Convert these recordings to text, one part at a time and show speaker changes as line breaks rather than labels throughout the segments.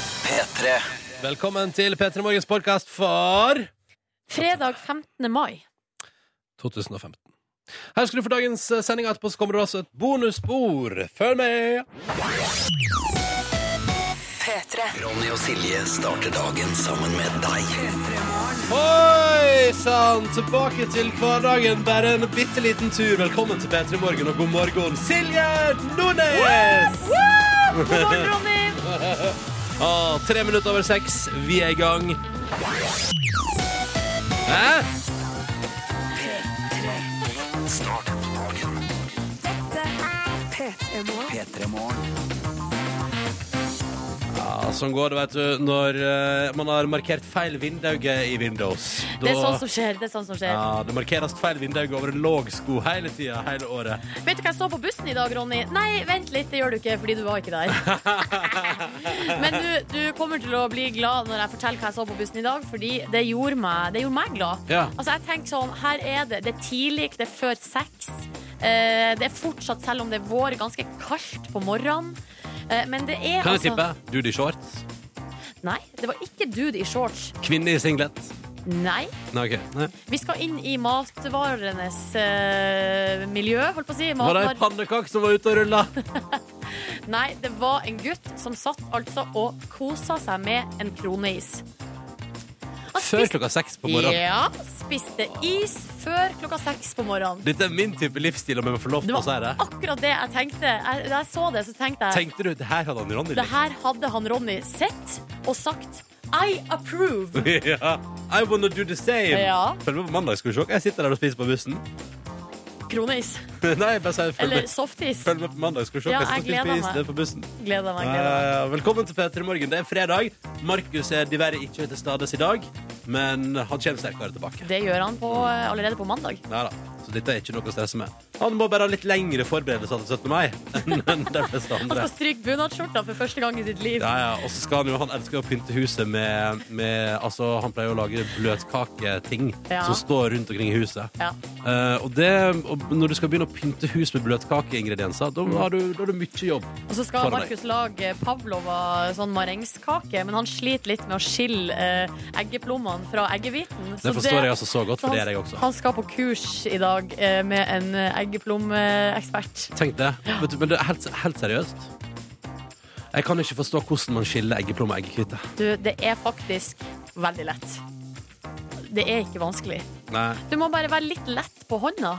P3.
Velkommen til P3 Morgens podkast for
Fredag 15. mai.
2015. Her skal du få dagens eh, sending, og etterpå så kommer det også et bonusspor. Følg med!
Ronny og Silje starter dagen sammen med deg.
Oi sann! Tilbake til hverdagen, bare en bitte liten tur. Velkommen til P3 Morgen, og god morgen, Silje Nordnes!
God morgen, Ronny!
Ah, tre minutter over seks, vi er i gang. Hæ?
Start dagen. P3 Morgen.
Ja, sånn går det, vet du, når eh, man har markert feil vindauge i Windows. Da-
Det er sånn som skjer. det er sånn som skjer.
Ja, det markeres feil vindaug over en låg sko hele tida, hele året.
Vet du hva jeg så på bussen i dag, Ronny? Nei, vent litt, det gjør du ikke, fordi du var ikke der. Men du, du kommer til å bli glad når jeg forteller hva jeg så på bussen i dag, fordi det gjorde meg, det gjorde meg glad.
Ja.
Altså, jeg tenker sånn, her er det, det er tidlig, det er før seks. Eh, det er fortsatt, selv om det er vår, ganske kaldt på morgenen. Eh, men det er
Kan jeg
altså
tippe? Dude i shorts?
Nei, det var ikke dude i shorts.
Kvinne i singlet?
Nei.
Nei, ok. Nei.
Vi skal inn i matvarenes eh, miljø, holdt på å si.
Var det ei
Matvar
pannekake som var ute og rulla?
Nei, det var en gutt som satt altså og kosa seg med en kroneis.
Før
Han spiste-
klokka seks på morgenen.
Ja, spiste is før klokka seks på morgenen.
Dette er min type livsstil, om jeg må få lov
Det
til å si
var
det.
akkurat det jeg tenkte. Jeg, da jeg så det, så tenkte jeg
Tenkte du det her hadde han Ronny
det her hadde han Ronny sett og sagt I approve.
likt? Ja. I wanna do the same.
Ja.
Følg med på mandag, skal du se. Jeg sitter der og spiser på bussen.
Kroneis.
Nei, bare si følg
Eller
med.
softis.
Følg med på mandag, skal du se. jeg
Ja, jeg
sitter og
gleder
spiser
meg.
det på bussen.
Gleder meg. gleder meg.
Eh, Velkommen til P3 Morgen. Det er fredag. Markus er diverre ikke til stades i dag, men han kommer sterkere tilbake.
Det gjør han på, eh, allerede på mandag.
Neida, Så dette er ikke noe å stresse med. Han må bare ha litt lengre forberedelser til 17. mai enn enn de fleste
Han
andre.
skal stryke bunadsskjorta for første gang i sitt liv.
Ja, ja. Og så skal han jo Han elsker å pynte huset med, med Altså, han pleier å lage bløtkaketing
Ja.
som står rundt omkring i huset.
Ja.
Eh, og, det, og når du skal begynne å pynte hus med bløtkakeingredienser, da har du, da har du mye jobb.
Og så skal
Klarer deg.
Markus lage pavlova sånn marengskake, men han sliter litt med å skille eh, eggeplommene fra eggehviten.
Det forstår jeg altså så godt, for det er jeg også.
Han skal på kurs i dag eh, med en eh, eggeplommeekspert.
Tenk det. Vet du, men det er helt, helt seriøst. Jeg kan ikke forstå hvordan man skiller eggeplomme og eggekvitte.
Du, det er faktisk veldig lett. Det er ikke vanskelig.
Nei.
Du må bare være litt lett på hånda.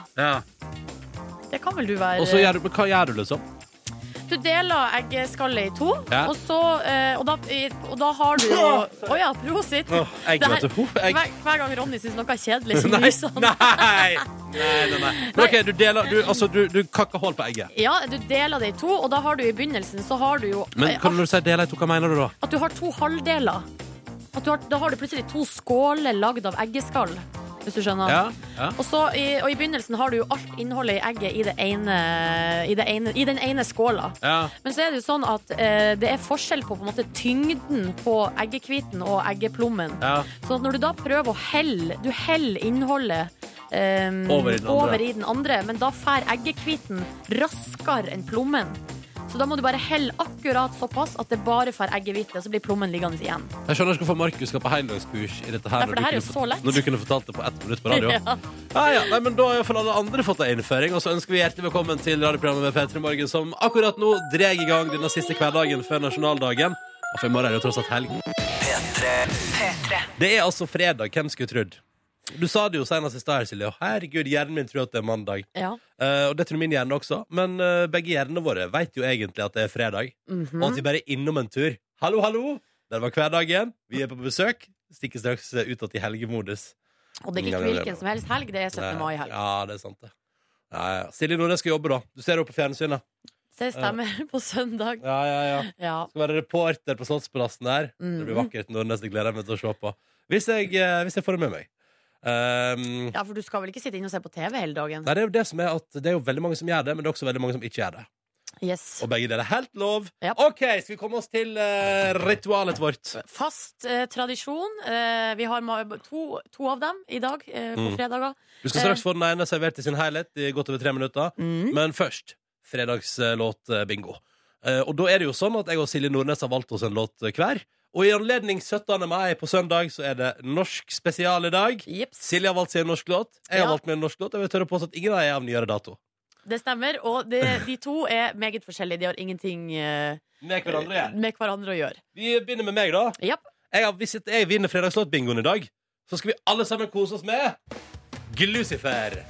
Det kan vel du være?
Og så gjør du, men hva gjør du, liksom?
Du deler eggeskallet i to,
Ja.
og, så, eh, og, da, i- og da har du jo Å ja, prosit!
Åh, egg,
Det her-
vet du. Ho, egg.
Hver, hver gang Ronny syns noe er kjedelig, så sånn. nyser han.
Nei! Nei, nei, nei. Men OK, du deler Du, altså, du, du kakker hull på egget.
Ja, du deler det i to, og da har du i begynnelsen så har du jo
Men
eh,
kan du si deler i to? Hva mener du da?
at du har to halvdeler. At du har, da har du plutselig to skåler lagd av eggeskall, hvis du skjønner.
Ja? ja.
Og, så, i, og i begynnelsen har du jo alt innholdet i egget i, det ene, i, det ene, i den ene skåla.
ja.
Men så er det jo sånn at eh, det er forskjell på, på en måte, tyngden på eggekviten og eggeplommen.
ja.
Sånn at når du da prøver å helle Du heller innholdet ehm,
Over i den andre.
over i den andre, men da fær eggekviten raskere enn plommen. Så da må du bare helle akkurat såpass at det bare får eggehvite, og så blir plommen liggende igjen.
Jeg skjønner ikke hvorfor Markus skal på heldagskurs i dette her.
Nei, for det her er jo
kunne
så lett.
når du kunne fortalt det på ett minutt på radio.
Ja.
Ja, ja. Nei, men Da har iallfall alle andre fått en innføring. Og så ønsker vi hjertelig velkommen til radioprogrammet med Petra Morgen, som akkurat nå drar i gang denne siste hverdagen før nasjonaldagen. Og for i morgen er det jo tross alt helg. Det er altså fredag. Hvem skulle trodd? Du sa det jo senest i stad, Silje. og Herregud, hjernen min tror at det er mandag.
Ja.
Eh, og det tror min hjerne også. Men eh, begge hjernene våre vet jo egentlig at det er fredag.
Mhm. Mm.
Og at vi bare er innom en tur. Hallo, hallo! Der var hverdagen. Vi er på besøk. Stikker straks eh, utad i helgemodus.
Og det er ikke hvilken som helst helg, det er 17.
Nei.
mai-helg.
Ja, det er sant det. Ja, ja. Silje Nordnes skal jobbe, da. Du ser henne på fjernsynet.
Det stemmer på søndag.
Ja, ja, ja.
Ja.
Skal være reporter på Slottsplassen der. Det
Mm.
blir vakkert. Nordnes, det gleder jeg meg til å se på. Hvis jeg, eh, hvis jeg får det med meg. Um,
ja, for du skal vel ikke sitte inne og se på TV hele dagen?
Nei, det er jo det som er at det er jo veldig mange som gjør det, men det er også veldig mange som ikke gjør det.
Yes.
Og begge deler er helt lov.
Ja.
OK, skal vi komme oss til eh, ritualet vårt?
Fast eh, tradisjon. Eh, vi har ma- to, to av dem i dag, eh, på
Mm.
fredager.
Du skal straks få den ene servert i sin helhet i godt over tre minutter. Men først eh, fredagslåtbingo. Og da er det jo sånn at jeg og Silje Nordnes har valgt oss en låt hver. Og i anledning 17. mai på søndag så er det norsk spesial i dag.
Jips.
Silje har valgt seg en norsk låt. Jeg har
Ja.
valgt meg en norsk låt. Jeg vil tørre på at ingen av dem er av nyere dato.
Det stemmer. Og det, de to er meget forskjellige. De har ingenting eh,
Med hverandre igjen.
med hverandre å gjøre.
Vi begynner med meg, da.
Japp.
Jeg har, hvis jeg vinner fredagslåtbingoen i dag, så skal vi alle sammen kose oss med Glucifer.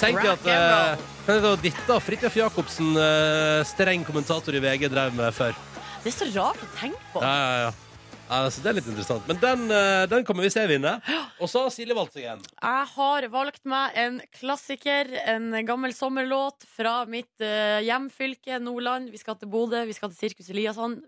Tenk
Rock
at eh, tenk at dette og Fridtjof Jacobsen, eh, streng kommentator i VG, drev med før.
Det er så rart å tenke på.
Ja, ja, ja. Ja, så det er litt interessant. Men den, eh, den kommer vi se vinne. Og så har Silje valgt seg en.
Jeg har valgt meg en klassiker, en gammel sommerlåt fra mitt eh, hjemfylke, Nordland. Vi skal til Bodø, vi skal til Sirkus Eliasson.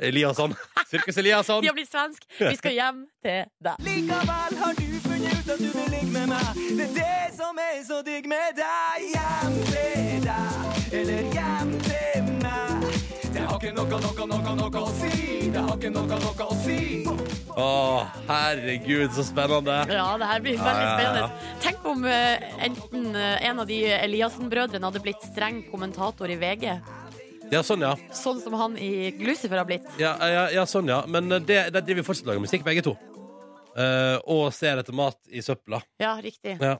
Eliasson. Sirkus Eliasson.
De har blitt svensk. Vi skal hjem til deg.
Likevel har du funnet ut at du vil ligge med meg. Det er det som er så digg med deg. Hjem til deg, eller hjem til meg. Det har ikke noe, noe, noe, noe å si. Det har ikke noe, noe å si.
Å, herregud, så spennende.
Ja, det her blir veldig
Ja, ja, ja.
spennende. Tenk om eh, enten eh, en av de Eliassen-brødrene hadde blitt streng kommentator i VG,
Ja, sånn, ja.
sånn som han i Glucifer har blitt.
Ja, ja, ja sånn, ja. Men eh, det, der driver vi fortsatt og lager musikk, begge to. Eh, og ser etter mat i søpla.
Ja, riktig.
Ja.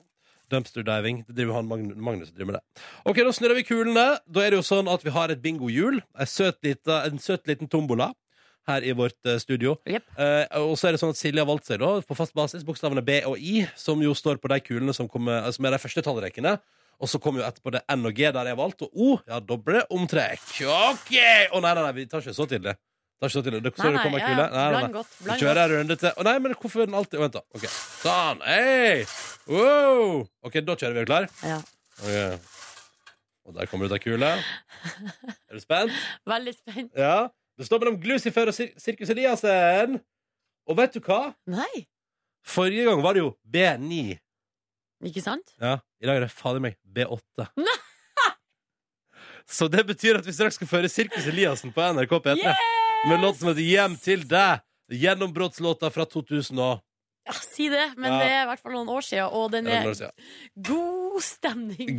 Dumpster diving. Det driver han Magnus, Magnus driver med det. Ok, Nå snurrer vi kulene. Da er det jo sånn at vi har et bingohjul. En søt, lita, en søt liten tombola her i vårt eh, studio.
Jepp.
Eh, og så er det sånn at Silje har valgt seg da, på fast basis bokstavene B og I, som jo står på de kulene som, kommer, eh, som er de første tallrekkene. Og så kommer jo etterpå det N og G der jeg har valgt, og O ja, doble omtrekk. OK! Å nei, nei, nei, vi tar ikke så tidlig. Tar ikke så tidlig. Det, så det kommer
ja,
en kule.
ja.
Nei, nei, nei.
Bland godt. Bland
Vi
godt.
kjører en runde til. Å nei, men hvorfor er den alltid Vent, da. Ok, Sånn. Hei! Wow! OK, da kjører vi. Er du klar?
Ja.
Ok. Og der kommer det ut ei kule. Er du spent?
Veldig spent.
Ja. Det står mellom Glucifer og Sir Sirkus Eliassen. Og vet du hva?
Nei,
Forrige gang var det jo B9.
ikke sant?
Ja, I dag er det fader meg B8. Så det betyr at vi straks skal føre Sirkus Eliassen på NRK P3 med låt som heter Hjem til deg. Gjennombruddslåta fra 2000 og
Ja, si det, men
Ja.
det er i hvert fall noen år siden, og den
Ja,
er
når sier jeg?
god stemning.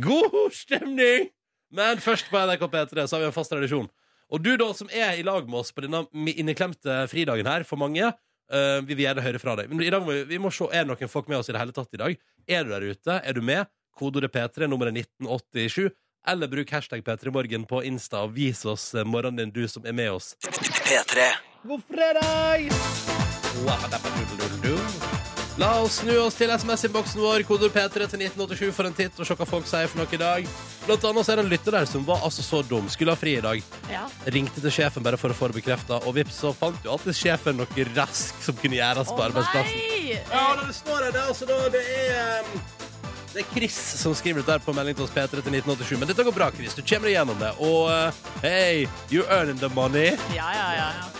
God stemning! Men først på NRK P3 så har vi en fast tradisjon. Og du da, som er i lag med oss på denne mi- inneklemte fridagen her, for mange, eh, vi vil gjerne høre fra deg. Men i dag må vi, vi må se, er det noen folk med oss i det hele tatt i dag? Er du der ute? Er du med? Kodeordet P3, nummeret 1987. Eller bruk hashtag P3morgen på Insta og vis oss eh, morgenen din, du som er med oss.
P3.
God fredag! La oss snu oss til SMS-innboksen vår, koder P3 til 1987 for en titt og se hva folk sier for noe i dag. Blant annet så er det en lytter der som var altså så dum, skulle ha fri i dag.
Ja.
Ringte til sjefen bare for å få det bekrefta, og vips, så fant jo alltid sjefen noe rask som kunne gjøres på
Å,
arbeidsplassen.
nei!
Ja, og det står her, det er altså da, det er um, Det er Chris som skriver dette her på melding til oss P3 til 1987, men dette går bra, Chris. Du kommer deg gjennom det. Og uh, hey, you earning the money.
Ja, ja, ja, ja.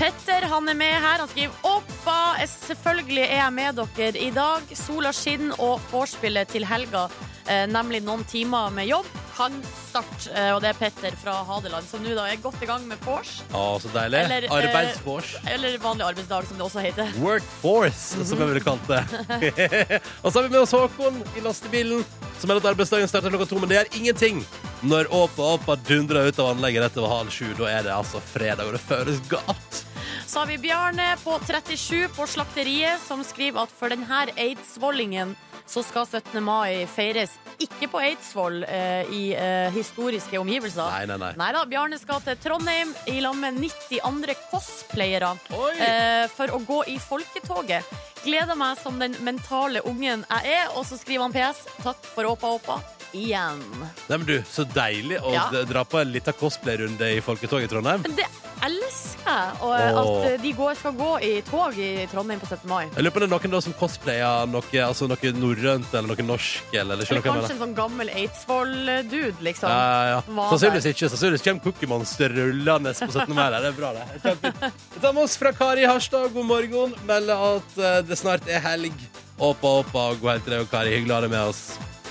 Petter han er med her. Han skriver Oppa, eh, selvfølgelig er jeg med dere i dag. Sola skinner og vorspielet til helga, eh, nemlig noen timer med jobb, kan starte. Eh, og det er Petter fra Hadeland som nå da er godt i gang med vors,
Å, så deilig.
Eller, eh,
Arbeidsvors.
eller vanlig arbeidsdag, som det også heter.
Workforce,
Mhm.
som jeg ville kalt det. og så har vi med oss Håkon i lastebilen, som melder at arbeidsdagen starter klokka to. Men det gjør ingenting når Åpa Åpa dundrer ut av anlegget rett over halv sju. Da er det altså fredag, og det føles godt.
Så har vi Bjarne på 37 på Slakteriet, som skriver at for denne eidsvollingen så skal 17. mai feires ikke på Eidsvoll eh, i eh, historiske omgivelser.
Nei, nei, nei.
Nei da, Bjarne skal til Trondheim i lag med 90 andre cosplayere
Oi!
eh, for å gå i folketoget. Gleder meg som den mentale ungen jeg er. Og så skriver han PS. Takk for Åpa Åpa. Igjen.
Nei, men du, så deilig å
Ja.
d- dra på en liten cosplay-runde i Folketoget i Trondheim.
Men det elsker jeg, og, eh,
Åh.
at de går, skal gå i tog i Trondheim på 17. mai.
Jeg lurer på om det er noen da som cosplayer noe, altså noe norrønt eller noe norsk. Eller, eller,
Eller
skjønner du hva jeg
kanskje
mener?
en sånn gammel Eidsvoll-dude, liksom.
Ja, ja.
Hva
Sannsynligvis ikke. Sannsynligvis kommer Cookie Monster rullende på 17. mai. der. Det er bra, det. Kjempefint. Vi tar med oss fra Kari i Harstad. God morgen. Melder at eh, det snart er helg. Åpa, åpa, god helg til deg og Kari. Hyggelig å ha deg med oss.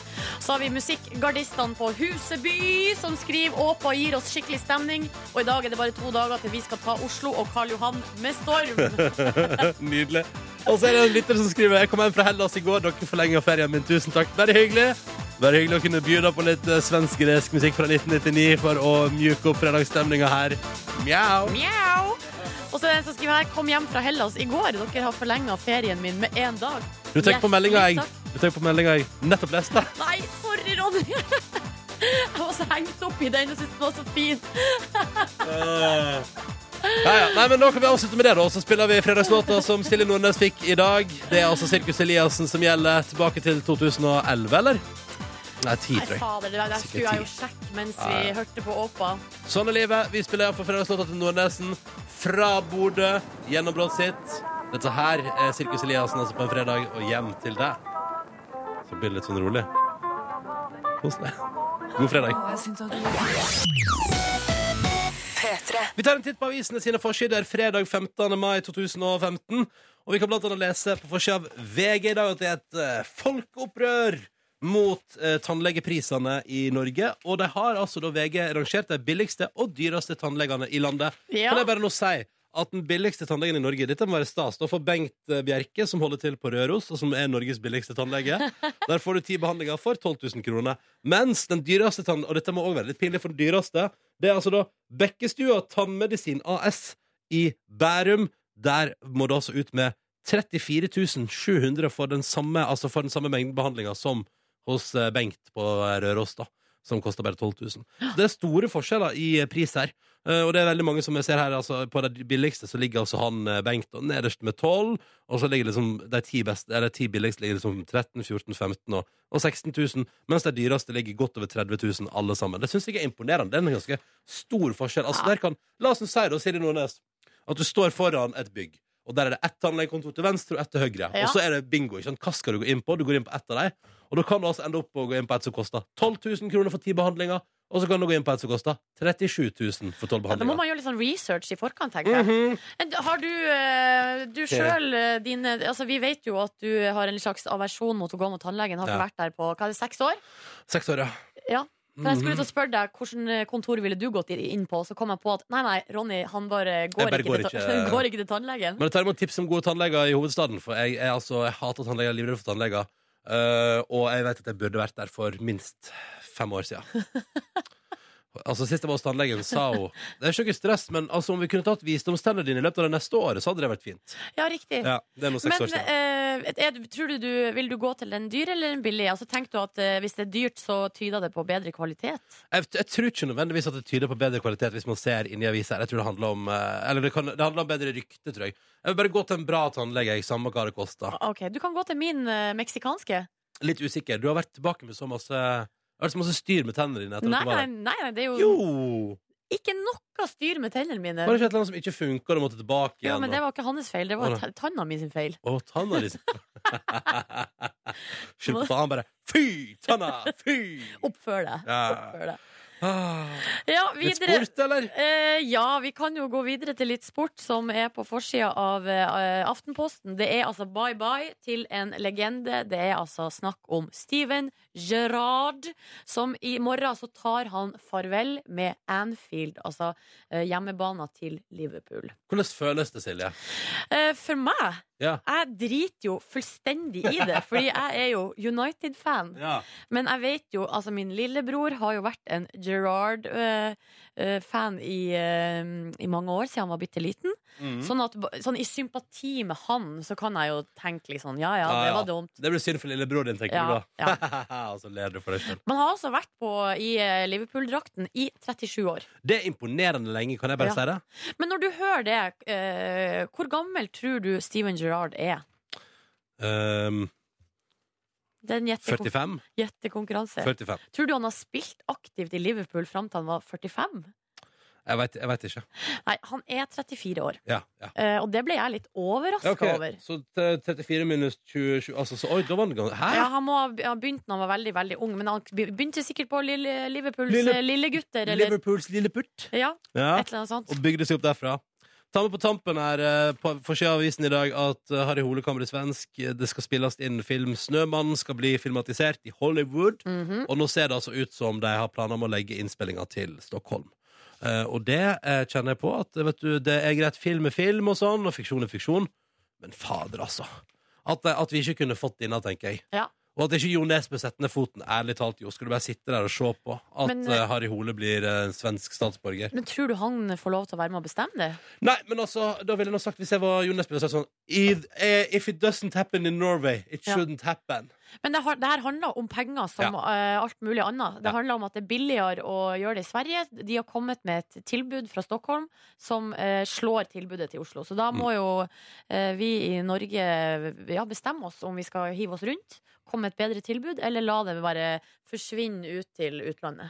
Så har vi musikkgardistene på Huseby som skriver Åpa gir oss skikkelig stemning. Og i dag er det bare to dager til vi skal ta Oslo og Karl Johan med storm.
Nydelig. Og så er det en lytter som skriver Jeg kom hjem fra Hellas i går. Dere forlenga ferien min. Tusen takk. Bare hyggelig. Bare hyggelig å kunne by deg på litt eh, svensk-gresk musikk fra 1999 for å mjuke opp fredagsstemninga her. Mjau.
Mjau! Og så er det en som skriver her Kom hjem fra Hellas i går. Dere har forlenga ferien min med én dag.
Du tenker på meldinga
Hjertelig
jeg,
takk.
du tenker på meldingen jeg nettopp leste.
Nei, sorry, Ronny. Jeg var så hengt opp i den og syntes den var så fin.
Eh. Ja, ja. Nei, men Nå kan vi avslutte med det, da. Og så spiller vi fredagslåta som Silje Nordnes fikk i dag. Det er altså Sirkus Eliassen som gjelder tilbake til 2011, eller? Nei, 10,
Nei,
tror jeg.
fader, det der der skulle jeg jo sjekke mens vi hørte på Åpa.
Sånn er livet. Vi spiller iallfall fredagslåta til Nordnesen. Fra Bodø, gjennombruddet sitt. Dette her er Sirkus Eliassen altså på en fredag, og hjem til deg. Så blir det litt sånn rolig. Kos deg. God fredag. Vi tar en titt på avisene sine forsider fredag 15. mai 2015. Og vi kan blant annet lese på forsida av VG i dag at det er et eh, folkeopprør mot eh, tannlegeprisene i Norge. Og de har altså da VG rangert de billigste og dyreste tannlegene i landet.
Ja.
Kan jeg bare nå si at den billigste tannlegen i Norge Dette må være stas. Da får Bengt eh, Bjerke, som holder til på Røros, og som er Norges billigste tannlege. Der får du ti behandlinger for 12 000 kroner. Mens den dyreste tann... Og dette må også være litt pinlig for den dyreste. Det er altså da Bekkestua Tannmedisin AS i Bærum. Der må du altså ut med 34 700 for den samme, altså for den samme mengden behandlinger som hos eh, Bengt på Røros, da. Som koster bare 12 000. Så det er store forskjeller i eh, pris her. Eh, Og det er veldig mange som jeg ser her altså, På det billigste så ligger altså han eh, Bengt og nederst med 12 Og så ligger liksom De ti, beste, eller, ti billigste ligger liksom 13, 14, 15 og, og 16 000 Mens de dyreste ligger godt over 30 000 alle sammen Det synes jeg er imponerende Det er en ganske stor forskjell altså, der kan, La oss nå si da, Silje Nordnes At du står foran et bygg og der er det ett tannlegekontor til venstre og ett til høyre
Ja.
Og så er det bingo, ikke sant? Hva skal du gå inn på? Du går inn på ett av deg Og da kan du altså ende opp på å gå inn på et som koster 12 000 kroner for 10 behandlinger og så kan du gå inn på et som koster 37 000 for 12
Da må
behandlinger.
man gjøre litt sånn research i forkant, tenker
Mhm.
jeg. Men Har du, eh, du sjøl eh, dine Altså, vi vet jo at du har en slags aversjon mot å gå mot tannlegen. Har ikke
Ja.
vært der på hva er det, seks år?
Seks år, ja.
Ja. Men jeg skulle
Mhm.
ut og spørre deg Hvilket kontor ville du gått i- inn på, så kom jeg på at nei, nei, Ronny han bare går,
bare
ikke,
går
til,
ikke-
ta- går ikke til tannlegen.
Men jeg tar imot tips om gode tannleger i hovedstaden, for jeg, er altså, jeg hater tannleger, jeg er livredd for tannleger. Eh, og jeg vet at jeg burde vært der for minst fem år siden. altså, sist jeg var hos tannlegen, sa hun Det er ikke noe stress, men altså, om vi kunne tatt visdomstennene dine i løpet av det neste året, så hadde det vært fint.
Ja, riktig.
Ja, det er nå seks
Men
år siden.
eh, er, du- tror du du, vil du gå til en dyr eller en billig? Altså, tenker du at eh, Hvis det er dyrt, så tyder det på bedre kvalitet?
Jeg, jeg tror ikke nødvendigvis at det tyder på bedre kvalitet hvis man ser inni aviser. Jeg tror det handler om eh, Eller det, kan, det handler om bedre rykte, tror jeg. Jeg vil bare gå til en bra tannlege, jeg, samme hva det koster.
Ah, Ok, Du kan gå til min eh, meksikanske.
Litt usikker. Du har vært tilbake med så masse Det har vært så masse styr med tennene dine. etter
Nei,
at du var
nei,
der.
nei, nei, det er jo,
Jo!
ikke noe styr med tennene mine.
Var det ikke et eller annet som ikke funka, og du måtte tilbake
Jo,
igjen?
men det var ikke hans feil. Det var
Å,
ta- tanna mi sin feil.
og... Å, tanna di Skyld på faen, bare Fy, tanna! Fy!
Oppfør deg.
Ja.
Oppfør deg.
Ah,
Ja,
Litt
videre.
sport, eller?
Eh, ja, vi kan jo gå videre til litt sport, som er på forsida av eh, Aftenposten. Det er altså bye-bye til en legende. Det er altså snakk om Steven Gerrard, som i morgen så tar han farvel med Anfield, altså eh, hjemmebana til Liverpool.
Hvordan føles det, Silje?
Eh, for meg
Ja.
Jeg driter jo fullstendig i det, fordi jeg er jo United-fan.
Ja.
Men jeg vet jo, altså min lillebror har jo vært en Gerard-fan i, eh, i mange år siden han var bitte liten.
Mhm.
Sånn, at, ba- sånn i sympati med han, så kan jeg jo tenke litt sånn ja ja,
Ja,
det
ja.
var dumt.
Det blir synd for lillebror din, tenker du
Ja,
da. og så ler du for deg sjøl.
Men han har altså vært på, i eh, Liverpool-drakten i 37 år.
Det er imponerende lenge, kan jeg bare
Ja.
si det?
Men når du hører det, eh, hvor gammel tror du Steven Gerrard er?
Ehm,
Det er en gjettekon-
45?
gjettekonkurranse.
45.
Tror du han har spilt aktivt i Liverpool fram til han var 45?
Jeg vet, jeg vet ikke.
Nei, han er 34 år.
Ja, ja.
Eh, og det ble jeg litt overraska
Ja, ok.
over.
Så t- 34 minus 27 altså, så, Oi, da var den ganske Hæ?
Ja, han må ha be- ha begynt når han var veldig veldig ung, men han be- begynte sikkert på lille, Liverpools
Lille-
lille, lillegutter. Eller,
Liverpools lille putt.
ja,
Ja.
et eller annet sånt.
Og bygde seg opp derfra. Ta med på tampen her eh, på forsida av avisen i dag at eh, Harry Hole kan bli svensk. Det skal spilles inn film. 'Snømannen' skal bli filmatisert i Hollywood.
Mhm.
Og nå ser det altså ut som de har planer om å legge innspillinga til Stockholm. Eh, og det eh, kjenner jeg på at eh, vet du, det er greit film er film og sånn, og fiksjon er fiksjon, men fader, altså. At, eh, at vi ikke kunne fått det inna, tenker jeg.
Ja.
Og at ikke Jo Nesbø setter ned foten. Ærlig talt, Jo, skal du bare sitte der og se på at
Men,
eh, Harry Hole blir eh, svensk statsborger?
Men tror du han får lov til å være med og bestemme det?
Nei, men altså, da ville jeg nå sagt Hvis jeg var Jon Nesbø, så hadde jeg sagt sånn if, eh, if it doesn't happen in Norway, it
Ja.
shouldn't happen.
Men det, har, det her handler om penger som eh, alt mulig annet. Det
Ja.
handler om at det er billigere å gjøre det i Sverige. De har kommet med et tilbud fra Stockholm som eh, slår tilbudet til Oslo. Så da
Mm.
må jo eh, vi i Norge ja, bestemme oss om vi skal hive oss rundt, komme med et bedre tilbud, eller la det bare forsvinne ut til utlandet.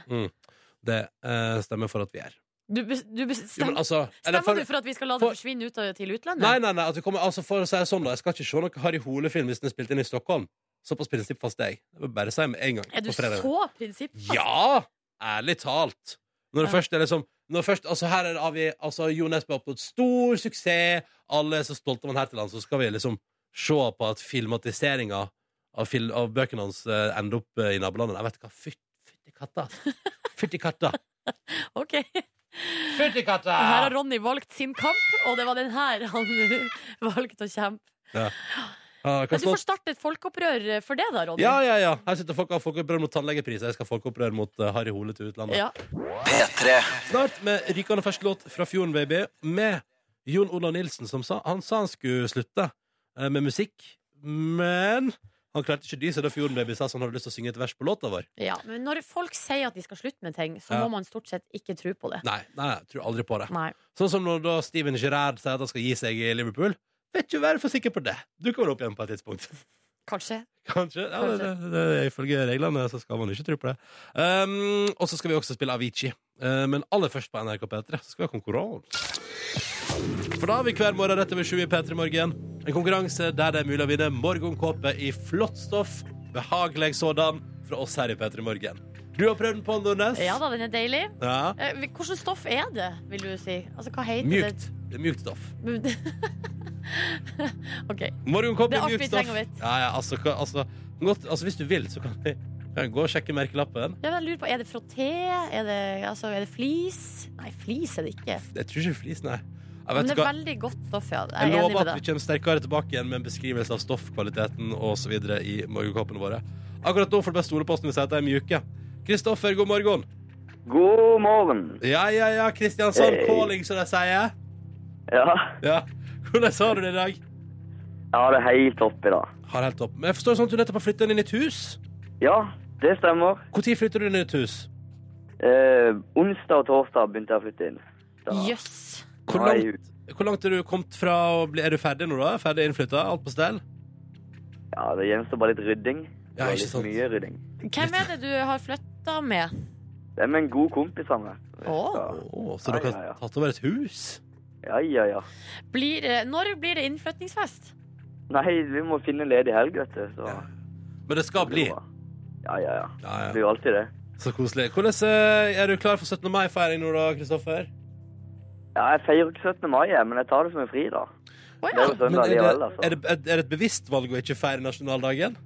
Det eh, stemmer for at vi er.
Du, bes- du
Jo, men
bestemmer,
altså, eller
stemmer du for at vi skal la det
for-
forsvinne ut av- til utlandet?
Nei, nei, nei, at vi kommer, altså for å si det sånn da Jeg skal ikke se noe Harry Hole-film hvis den er spilt inn i Stockholm. Såpass prinsippfast er jeg. Det vil jeg bare si med en gang.
er du
på fredag.
så prinsippfast?
Ja! Ærlig talt. Når det
Ja.
først er liksom når først, altså her er det avgi, altså Jo Nesbø har oppnådd stor suksess, alle er så stolte av han her til lands, så skal vi liksom se på at filmatiseringa av, fil, av bøkene hans eh, ender opp eh, i nabolandet. Jeg vet ikke hva Fyt- Fytti katta! altså. Fytti katta!
Ok.
Fytti katta!
Og Her har Ronny valgt sin kamp, og det var den her han valgte å kjempe.
Ah, hva
Men du
skal-
får starte et folkeopprør eh, for det, da, Ronny.
ja, ja, ja. Her sitter folk og har folkeopprør mot tannlegepriser. Jeg skal ha folkeopprør mot eh, Harry Hole til utlandet.
Ja.
P3
Snart med rykende fersk låt fra Fjorden Baby med Jon Olav Nilsen, som sa Han sa han skulle slutte eh, med musikk, men han klarte ikke dy seg da Fjorden Baby sa han hadde lyst til å synge et vers på låta vår.
Ja. Men når folk sier at de skal slutte med ting, så
Ja.
må man stort sett ikke tro på det.
Nei, nei, jeg tror aldri på det.
Nei.
Sånn som når da Steven Gerrard sier at han skal gi seg i Liverpool. Vet ikke, vær for sikker på det. Du kommer opp igjen på et tidspunkt.
Kanskje.
Kanskje. Ja,
Kanskje.
det, det, det, ifølge reglene så skal man ikke tro på det. Um, og så skal vi også spille Avicii. Uh, men aller først på NRK P3 så skal vi ha konkurranse. For da har vi hver morgen rett over sju i P3 Morgen en konkurranse der det er mulig å vinne morgenkåpe i flott stoff, behagelig sådan, fra oss her i P3 Morgen. Du har prøvd den på, Nordnes?
Ja da, den er deilig.
Ja.
Eh, Hvilket stoff er det, vil du si? Altså, hva heter
Mjukt. Det er mjukt stoff.
det? OK.
Morgenkopp
Det er
i
alt vi
mjukt stoff.
trenger å vite.
Ja, ja, altså, hva- altså, godt, altså, hvis du vil, så kan vi kan vi gå og sjekke merkelappen.
Ja, men jeg lurer på, Er det frotté? Er det, altså, er det flis? Nei, flis er det ikke.
Jeg tror ikke flis, nei. Jeg vet
Men det
hva-
er veldig godt stoff, ja.
Jeg
Jeg er enig
lover
med
at vi
deg.
kommer sterkere tilbake igjen med en beskrivelse av stoffkvaliteten osv. i morgenkoppene våre. Akkurat nå får du bare stole på oss når vi sier at de er mjuke. Kristoffer, god morgen.
God morgen.
Ja, ja, ja, Kristiansand
Hei.
calling, som de sier.
Ja.
Ja. Hvordan har du det i dag?
Jeg har det helt topp i dag.
Har helt topp. Men jeg forstår det sånn at du nettopp har flytta inn i nytt hus.
Ja, det stemmer.
Når flytter du inn i nytt hus?
Eh, onsdag og torsdag begynte jeg å flytte inn. Da
Jøss.
Hvor
nå er jeg
langt, hvor langt er du kommet fra å bli Er du ferdig nå, da? Ferdig innflytta? Alt på stell?
ut- Ja, det gjenstår bare litt rydding.
Ja,
Det var
ikke
litt
sant.
Mye rydding.
Hvem er det du har flytta med?
Det er med en god kompis av meg.
Å.
Å, så dere
Ja, ja,
har
ja.
tatt over et hus?
Ja, ja, ja.
Blir, eh, når blir det innflyttingsfest?
Nei, vi må finne ledig helg, vet du. Så
Ja, Men det skal bli.
bra. Ja, ja, ja.
Ja,
Det
ja.
blir jo alltid det.
Så koselig. Hvordan eh, er du klar for 17. mai-feiring nå, da, Kristoffer?
Ja, jeg feirer ikke 17. mai, jeg, men jeg tar det som en fri, da.
Å
Det er
ja.
jo søndag
Men er,
likevel,
det,
altså.
er, det, er det et bevisst valg å ikke feire nasjonaldagen?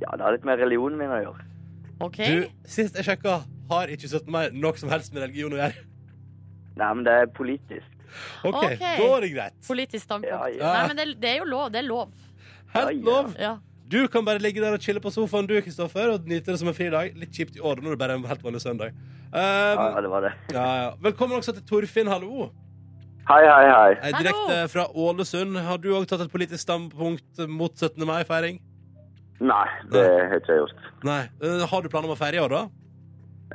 Ja, det har litt med religionen min å gjøre.
OK.
Du, Sist jeg sjekka, har ikke 17. mai noe som helst med religion å gjøre.
Nei, men det er politisk.
OK,
Ok.
da er det greit.
Politisk standpunkt.
Ja, ja.
Nei, men det, det er jo lov. Det er lov.
Helt
Ja, ja.
lov.
Ja.
Du kan bare ligge der og chille på sofaen, du, Kristoffer, og nyte det som en fridag. Litt kjipt i år når det bare er en helt vanlig søndag. Um,
Ja, ja, det var det.
ja, ja. Velkommen også til Torfinn, hallo.
Hei, hei, hei.
Eh,
Hallo.
Direkte fra Ålesund. Har du òg tatt et politisk standpunkt mot 17. mai-feiring?
Nei, det har ikke jeg gjort.
Nei. Eh, har du planer om å feire i år, da?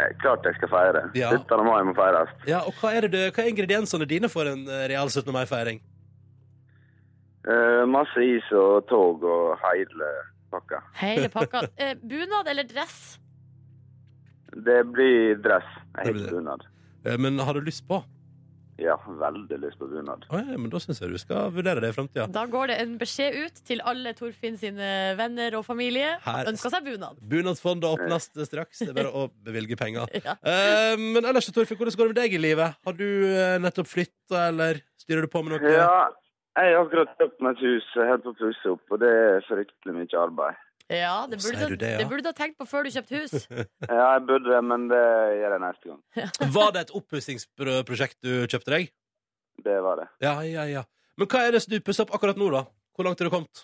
Eh, Klart jeg skal feire.
Ja.
17. mai må feires.
Ja, og hva er, det, du- hva er ingrediensene dine for en eh, real 17. mai-feiring?
Eh, masse is og tog og hele pakka.
Hele pakka. Eh, bunad eller dress?
Det blir dress. Jeg
Det blir
har
det.
bunad.
Eh, Men har du lyst på?
Ja, veldig lyst på bunad.
Å, ja, men da syns jeg du skal vurdere det i framtida.
Da går det en beskjed ut til alle Torfinn sine venner og familie.
Her-
Ønsker seg bunad.
Bunadsfondet åpnes straks. Det er bare å bevilge penger.
Ja.
Eh, men ellers, Torfinn, hvordan går det med deg i livet? Har du eh, nettopp flytta, eller styrer du på med noe?
Ja, jeg har akkurat kjøpt meg et hus jeg holder på å pusse opp, og det er fryktelig mye arbeid.
Ja, det
Sier
burde
du
du
det, ja?
det burde du ha tenkt på før du kjøpte hus.
Ja, jeg burde det, men det gjør jeg neste gang.
Var det et oppussingsprosjekt du kjøpte deg?
Det var det.
Ja, ja, ja. Men hva er det som du pusser opp akkurat nå, da? Hvor langt er du kommet?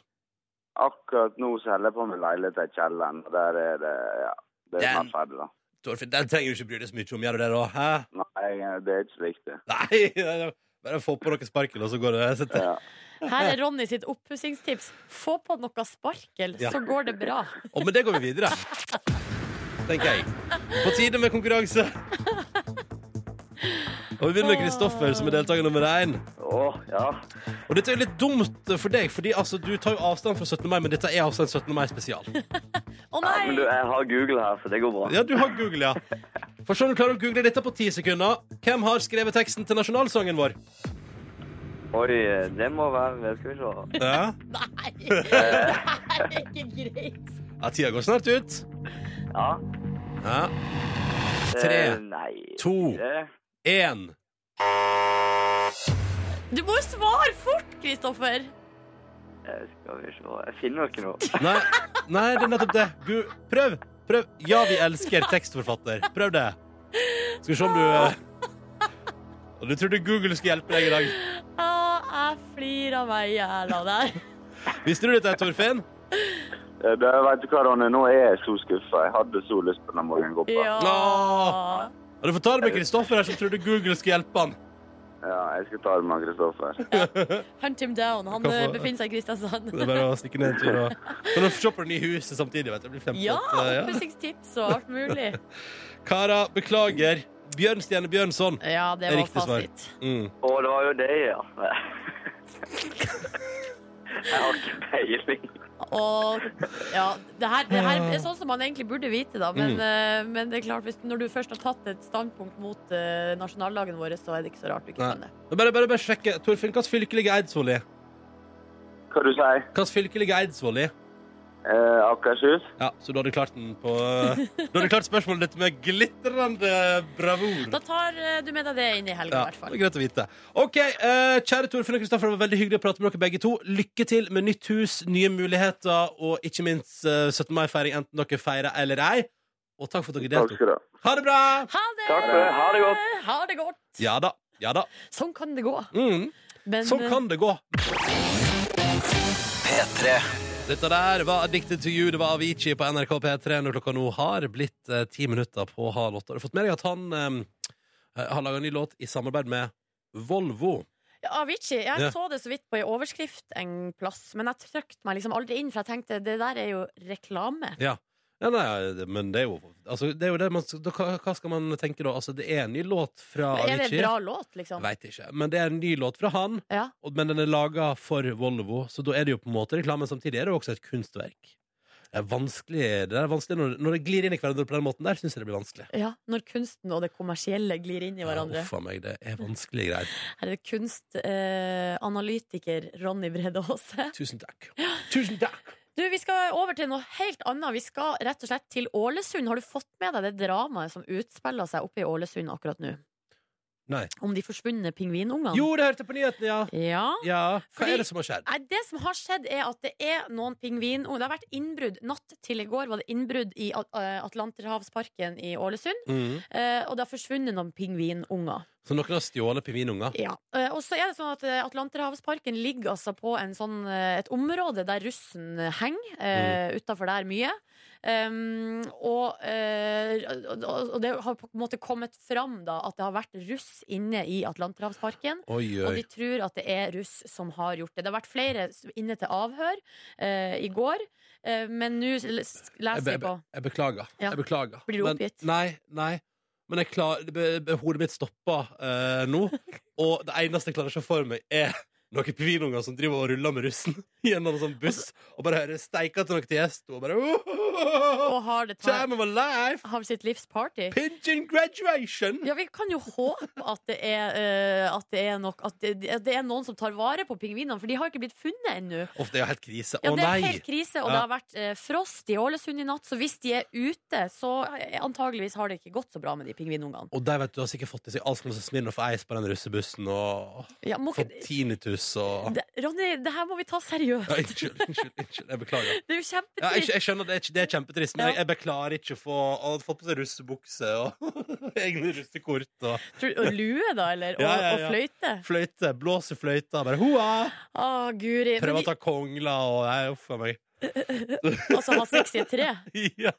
Akkurat nå så holder jeg på med leilighet i kjelleren, og der er det ja, det er
Den-
snart ferdig, da.
Torfinn, den trenger du ikke bry deg så mye om. Gjør du det, da? Hæ?
Nei, det er ikke så viktig.
Nei! nei, nei. Bare få på noe sparkel, og så går det. Sett det.
Ja.
Her er Ronny sitt oppussingstips. Få på noe sparkel,
Ja.
så går det bra.
Og med det går vi videre. Tenker jeg. På tide med konkurranse. Og vi begynner med Kristoffer, som er deltaker nummer én.
Åh, ja.
Og dette er jo litt dumt for deg, fordi altså, du tar jo avstand fra 17. mai, men dette er altså en 17. mai spesial.
Å
ja. Men du,
nei!
jeg har Google her, så det går bra.
Ja, du har googla. For sånn du klarer å google dette på ti sekunder. Hvem har skrevet teksten til nasjonalsangen vår?
Oi, det må være Skal vi se.
Ja,
Nei! Det er ikke greit.
ja tida går snart ut.
Ja.
Ja.
eh,
Tre,
Nei.
to.
Eh,
Én.
Du må jo svare fort, Kristoffer!
eh, Skal vi se. Jeg finner ikke noe.
Nei, nei, det er nettopp det. Gu prøv. prøv. Ja, vi elsker tekstforfatter. Prøv det. Skal vi se om du eh, Og Du trodde Google skulle hjelpe deg i dag.
Ah, jeg flirer av meg i hjel av deg.
Visste du dette, Torfinn?
Eh, Det, vet du hva, Ronny, nå er jeg så skuffa. Jeg hadde så lyst på den morgengåpa.
Ja.
Åh. Og du får ta det med Kristoffer her, som trodde Google skulle hjelpe han.
Ja, jeg skal ta det med Kristoffer.
Hunt him down. Han
Hva for-
eh, befinner seg i Kristiansand.
Det er bare å stikke ned en tur og Kan du se på det nye huset samtidig, vet du. Det blir
Ja,
kjempeflott, eh, ja.
oppussingstips og alt mulig.
Kara, beklager. Bjørnstjerne Bjørnson.
Ja, det
Det er
var
riktig svar.
fasit.
Mm.
Å, det var jo det, ja. Jeg har ikke peiling.
Og ja, det her, det her er sånn som man egentlig burde vite, da. Men,
Ah. Mm.
eh, men det er klart, hvis, når du først har tatt et standpunkt mot eh, nasjonaldagen vår, så er det ikke så rart du ikke
Nei.
kan det.
Men Bare, bare, bare sjekke. Torfinn, hvilket fylke ligger Eidsvoll i?
Hva du sier
Hvilket fylke ligger Eidsvoll i?
Eh, Akershus?
Ja, Så du hadde klart den på eh, Du hadde klart spørsmålet ditt med glitrende bravur.
Da tar eh, du med deg det inn i
Ja,
helga, i hvert
det
fall.
er greit å vite. OK, eh, kjære Torfinn og Kristoffer, det var veldig hyggelig å prate med dere begge to. Lykke til med nytt hus, nye muligheter og ikke minst eh, 17. mai-feiring, enten dere feirer eller ei. Og takk for at dere deltok.
Takk skal du ha.
Ha det bra!
Ha det!
Takk for det. Ha det godt.
Ha det godt.
Ja da. Ja da.
Sånn kan det gå.
Mm.
Men,
Sånn
eh,
kan det gå.
P3
Dette der var Addicted to you, det var Avicii på NRK P3 når klokka nå har blitt eh, ti minutter på halv åtte. Har du fått med deg at han eh, har laga en ny låt i samarbeid med Volvo?
eh, Ja, Avicii. Jeg
Ja.
så det så vidt på ei overskrift en plass, men jeg trykte meg liksom aldri inn, for jeg tenkte det der er jo reklame.
Ja, nei, det- men det er jo, altså, det, er jo det man, skal- da, hva hva skal man tenke da? Altså, det er en ny låt fra
Men er det en
Avicii.
bra låt, liksom?
Veit ikke. Men det er en ny låt fra han,
Ja.
og- men den er laga for Volvo, så da er det jo på en måte reklame. men Samtidig er det jo også et kunstverk. Det er vanskelig, det er vanskelig når, når det glir inn i hverandre på den måten der, syns jeg det blir vanskelig.
ja. Når kunsten og det kommersielle glir inn i
Ja,
hverandre.
uff a meg, det er vanskelige greier.
Her er det kunstanalytiker Ronny Brede Aase.
Tusen takk. Tusen takk!
Du, vi skal over til noe helt annet. Vi skal rett og slett til Ålesund. Har du fått med deg det dramaet som utspiller seg oppe i Ålesund akkurat nå?
Nei.
Om de forsvunne pingvinungene?
Jo, det hørte jeg på nyhetene, ja.
Ja.
Ja, Hva
Fordi-
er det som har skjedd?
Nei, det som har skjedd, er at det er noen pingvinunger Det har vært innbrudd. Natt til i går var det innbrudd i At- eh, Atlanterhavsparken i Ålesund. eh, Og det har forsvunnet noen pingvinunger.
Mm. Så noen har stjålet pingvinunger?
Ja. eh, Og så er det sånn at eh, Atlanterhavsparken ligger altså på en sånn, eh, et område der russen henger, eh, utafor der mye. Um, og, eh, og- og og det har på en måte kommet fram da at det har vært russ inne i Atlanterhavsparken.
Oi,
Og
oi.
de tror at det er russ som har gjort det. Det har vært flere s- inne til avhør eh, i går, eh, men nå l- s-
Jeg,
leser
be
vi på.
jeg beklager.
Ja.
Jeg beklager.
Blir du
Men-
oppgitt?
Nei. nei Men jeg klar, be, be, hodet mitt stoppa eh, nå. Og det eneste jeg klarer å se for meg, er noen pingvinunger som driver og ruller med russen i en eller annen sånn buss,
Altså-
og bare hører steika til noen til gjest, og bare
Og
oh,
har, det
Time of a life!
har sitt livs party.
Pigeon graduation!
Ja, Vi kan jo håpe at det er, eh, at det er, nok, at det, at det er noen som tar vare på pingvinene, for de har ikke blitt funnet ennå.
Uff, det er jo helt krise.
Ja,
Å
det er
nei!
helt krise, og det
Ja.
har vært eh, frost i Ålesund i natt, så hvis de er ute, så eh, antageligvis har det ikke gått så bra med de pingvinungene.
Og de vet du har sikkert fått i seg alt slags Smirnoff Ice på den russebussen, og
Ja, må
fått
ikke-
tinnitus og
det, Ronny, det her må vi ta
ja,
seriøst.
Unnskyld, unnskyld, unnskyld. Jeg beklager.
Det er jo
Ja, jeg,
kjempetrist.
jeg skjønner det, er ikke- det er kjempetrist, men
Ja.
jeg, jeg beklager ikke å få, å ha fått på seg russebukse og egne russekort og
Tror- Og lue, da, eller? Og,
Ja, ja, ja.
og fløyte?
fløyte. Blåse fløyta. Bare hoa!
Å, guri. Men
Prøve å
de,
ta kongla og Nei, uff a meg.
altså, ha sex i et tre.
Ja.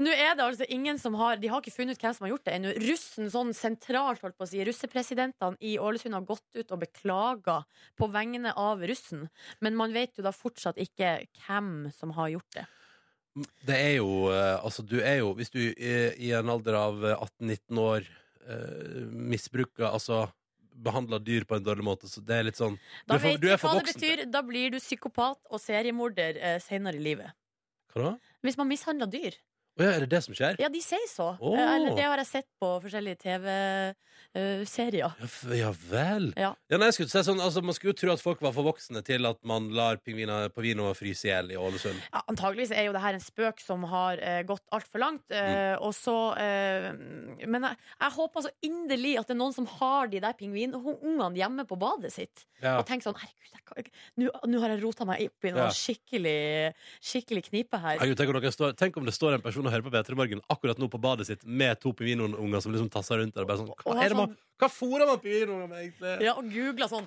Nå er det altså ingen som har De har ikke funnet ut hvem som har gjort det ennå. Russen sånn sentralt, holdt på å si. Russepresidentene i Ålesund har gått ut og beklaga på vegne av russen. Men man vet jo da fortsatt ikke hvem som har gjort det.
Det er jo eh, Altså, du er jo Hvis du i, i en alder av eh, 18-19 år eh, misbruker Altså behandler dyr på en dårlig måte, så det er litt sånn
Da
er for-
vet
du
vi
er for
hva det
voksen.
betyr. Da blir du psykopat og seriemorder eh, senere i livet.
Hva da?
Hvis man mishandler dyr.
Å ja, er det det som skjer?
Ja, de sier så.
Åh.
Eh, Eller det har jeg sett på forskjellige eh, TV-serier.
Ja, f- ja vel.
Ja.
nei, jeg skulle si sånn, altså, man skulle jo tro at folk var for voksne til at man lar pingviner på vino fryse i hjel i Ålesund.
Ja, antageligvis er jo det her en spøk som har eh, gått altfor langt.
Mm.
Eh, Og så eh, Men jeg, jeg håper så inderlig at det er noen som har de der pingvinungene hjemme på badet sitt.
Ja.
Og tenker sånn Herregud, jeg kan ikke- nå nå har jeg rota meg opp i noe
Ja.
skikkelig, skikkelig knipe her.
Herregud, tenk, om dere står, tenk om det står en person og hører på P3 Morgen akkurat nå på badet sitt med to pingvinunger som liksom tasser rundt der. og Bare sånn, hva
Og har
er det man, hva fôrer man pingvinunger med, egentlig?
Ja, og googla sånn.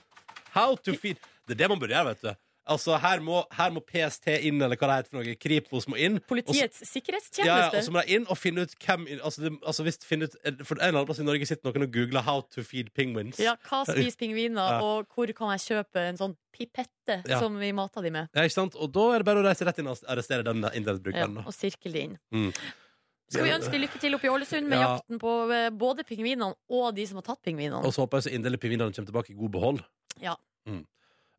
How to feed Det er det man burde gjøre, vet du. Altså, her må, her må PST inn, eller hva det heter for noe. Kripos må inn. og så-
Politiets sikkerhetstjeneste.
Ja, ja, og så må de inn og finne ut hvem altså, det, altså, hvis finne ut, For en eller annen plass i Norge sitter noen og googler 'How to feed penguins'.
Ja, hva spiser pingviner,
Ja.
og hvor kan jeg kjøpe en sånn pipette
Ja.
som vi mater de med?
Ja, ikke sant? Og da er det bare å reise rett inn og arrestere den
Ja,
internettbrukeren. da.
og sirkle det inn.
Mm.
Skal vi ønske lykke til oppe i Ålesund med
Ja.
jakten på eh, både pingvinene og de som har tatt pingvinene?
Og så håper jeg så inderlig pingvinene kommer tilbake i god behold.
Ja.
Mm.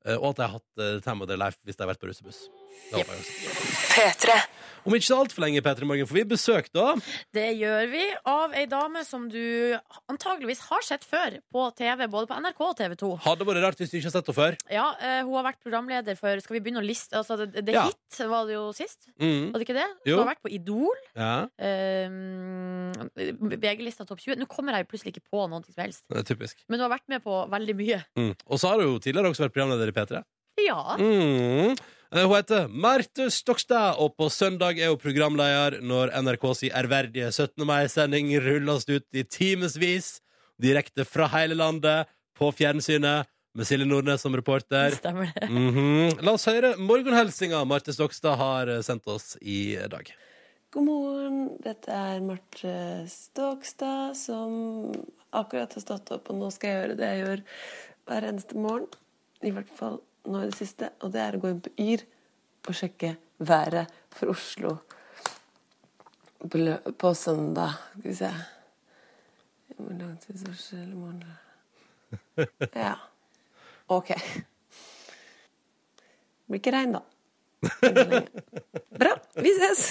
Eh, Og at de har hatt eh, time of their life hvis de har vært på russebuss. Det håper jeg også. Om ikke så altfor lenge, Petra Morgen, får vi besøk da.
Det gjør vi av ei dame som du antageligvis har sett før på TV, både på NRK og TV 2.
Hadde vært rart hvis du ikke har sett henne før.
Ja, eh, hun har vært programleder for Skal vi begynne å liste altså, The, The
Ja.
Hit var det jo sist,
Mm.
var det ikke det?
Jo.
Hun har vært på Idol.
Ja.
eh, VG-lista topp 20. Nå kommer jeg plutselig ikke på noe som helst.
Det er typisk.
Men du har vært med på veldig mye.
Mm. Og så har hun jo tidligere også vært programleder i P3.
Ja.
Mm. Eh, Hun heter Marte Stokstad, og på søndag er hun programleder når NRK sin ærverdige 17. mai-sending rulles ut i timevis, direkte fra hele landet, på fjernsynet, med Silje Nordnes som reporter.
Stemmer det.
Mhm. La oss høre morgenhelsinga Marte Stokstad har eh, sendt oss i dag.
God morgen, dette er Marte Stokstad som akkurat har stått opp, og nå skal jeg gjøre det jeg gjør hver eneste morgen, i hvert fall nå i det siste, og det er å gå inn på Yr og sjekke været for Oslo på lø- på søndag. Skal vi se Hvor lang tidsvarsel i morgen Ja. OK. Blir ikke regn, da. Enn så lenge. Bra. Vi ses.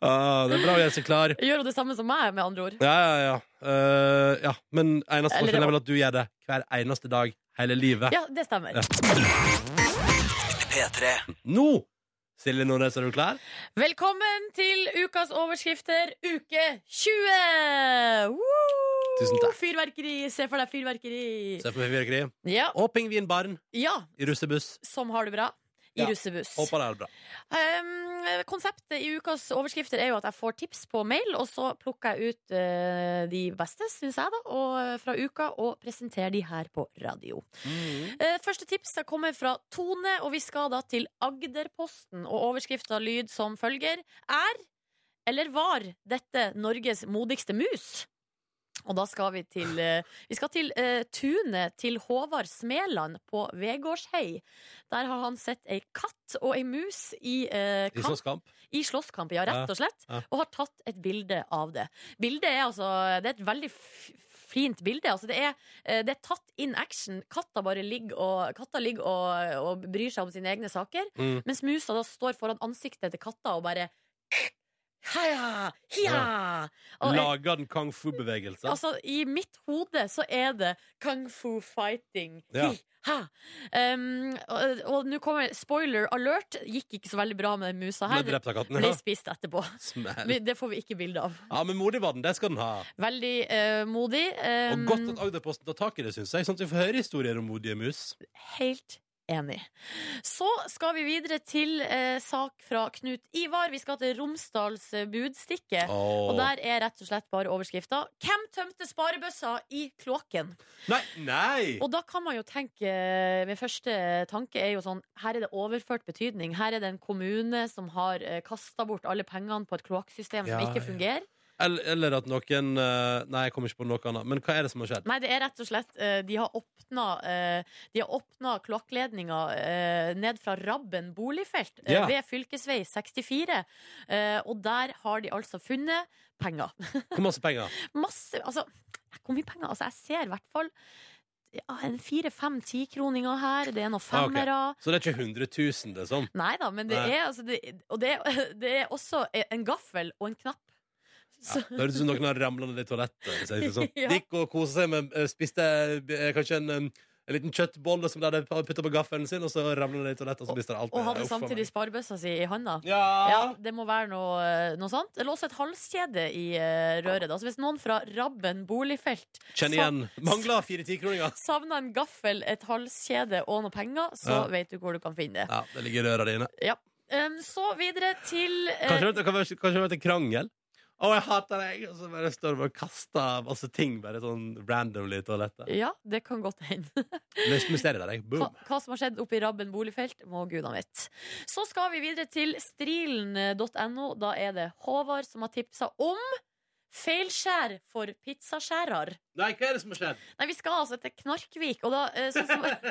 Ah, det er bra å gjøre seg klar.
Gjør hun det samme som meg, med andre ord?
Ja, ja, ja. Eh, ja. Men eneste
Eller
forskjell
det
er
var-
vel at du gjør det hver eneste dag hele livet.
Ja, det stemmer.
P3.
Nå! Silje Nordnes, er du klar?
Velkommen til ukas overskrifter, uke 20! Woo!
Tusen takk.
Fyrverkeri. Se for deg fyrverkeri.
Se for meg fyrverkeri.
Ja.
Og pingvinbarn
ja.
i russebuss.
Som har det bra.
Ja.
I russebuss.
Håper det er bra.
Ehm, konseptet i ukas overskrifter er jo at jeg får tips på mail, og så plukker jeg ut eh, de beste, syns jeg, da, og, fra uka, og presenterer de her på radio. Eh, første tips jeg kommer fra Tone, og vi skal da til Agderposten. Og overskrifta lyd som følger er eller var dette Norges modigste mus? Og da skal vi til, eh, vi skal til eh, tunet til Håvard Smeland på Vegårshei. Der har han sett ei katt og ei mus i,
I
eh, kamp,
slåsskamp.
i slåsskamp, ja, rett og slett.
Ja, ja.
Og har tatt et bilde av det. Bildet er altså Det er et veldig f fint bilde. Altså, det, er, eh, det er tatt in action. Katta bare ligger og, katta ligger og, og bryr seg om sine egne saker.
Mm.
Mens musa da står foran ansiktet til katta og bare Heia! Hia! Og jeg,
Lager den kung fu-bevegelser?
altså, I mitt hode så er det kung fu fighting.
Ja.
Hi-ha! Um, og og nå kommer spoiler alert. Gikk ikke så veldig bra med den musa
Ble
her.
drept av katten?
Ble
Ja.
spist etterpå.
Smell.
Vi- Det får vi ikke bilde av.
Ja, men modig var den. Det skal den ha.
Veldig eh, modig. eh,
Og godt at Agderposten tar tak i det, syns jeg. Sånn at vi får høre historier om modige mus.
Helt enig. Så skal vi videre til eh, sak fra Knut Ivar. Vi skal til Romsdals eh, budstikke. Og
Åh.
der er rett og slett bare overskrifta 'Hvem tømte sparebøssa i kloakken?'
Nei! nei.
Og da kan man jo tenke eh, Min første tanke er jo sånn Her er det overført betydning. Her er det en kommune som har kasta bort alle pengene på et kloakksystem
Ja,
som ikke
ja.
fungerer.
Eller, eller at noen eh, Nei, jeg kommer ikke på noe annet. Men hva er det som har skjedd?
Nei, det er rett og slett eh, De har åpna, eh, de har åpna kloakkledninga eh, ned fra Rabben boligfelt eh,
Ja.
ved fylkesvei 64. eh, og der har de altså funnet penger.
Hvor masse penger?
Masse Altså, hvor mye penger? Altså, jeg ser i hvert fall ja, en fire-fem tikroninger her. Det er noen
Ja, Ah, ok.
femmere.
Så det er ikke 100 000, det er sånn?
Nei da, men det
Nei.
er altså det, Og det, er- det er også en gaffel og en knapp.
Ja,
Så,
det høres ut som noen har ramla ned i toalettet. hvis jeg sier Sånn.
Ja.
Gikk og kosa seg med eh, Spiste eh, kanskje en, eh, en liten kjøttbolle som de hadde putta på gaffelen sin, og så ramla det ned i toalettet, og så mista det alt.
og hadde
Uff, faen meg.
samtidig sparebøssa si i handa.
ja.
Ja, det må være noe, eh, noe sånt. Eller også et halskjede i eh, røret. Da. Så hvis noen fra Rabben boligfelt
Kjenn igjen. Mangla fire tikroninger.
savna en gaffel, et halskjede og noe penger, så
Ja.
vet du hvor du kan finne det.
Ja, det ligger i røra dine.
Ja. Um, så videre til eh,
Kanskje det kanskje, kanskje det har vært en krangel? Å, jeg hater deg! Og så bare står du og kaster masse ting bare sånn randomly i toalettet.
Ja, det kan godt hende.
Løst mysteriet der, jeg.
Hva,
Boom.
hva som har skjedd oppe i Rabben boligfelt, må gudene vite. Så skal vi videre til strilen.no. Da er det Håvard som har tipsa om feilskjær for pizzaskjærer.
Nei, hva er det som har skjedd?
Nei, vi skal altså til Knarkvik, og da eh, Sånn som,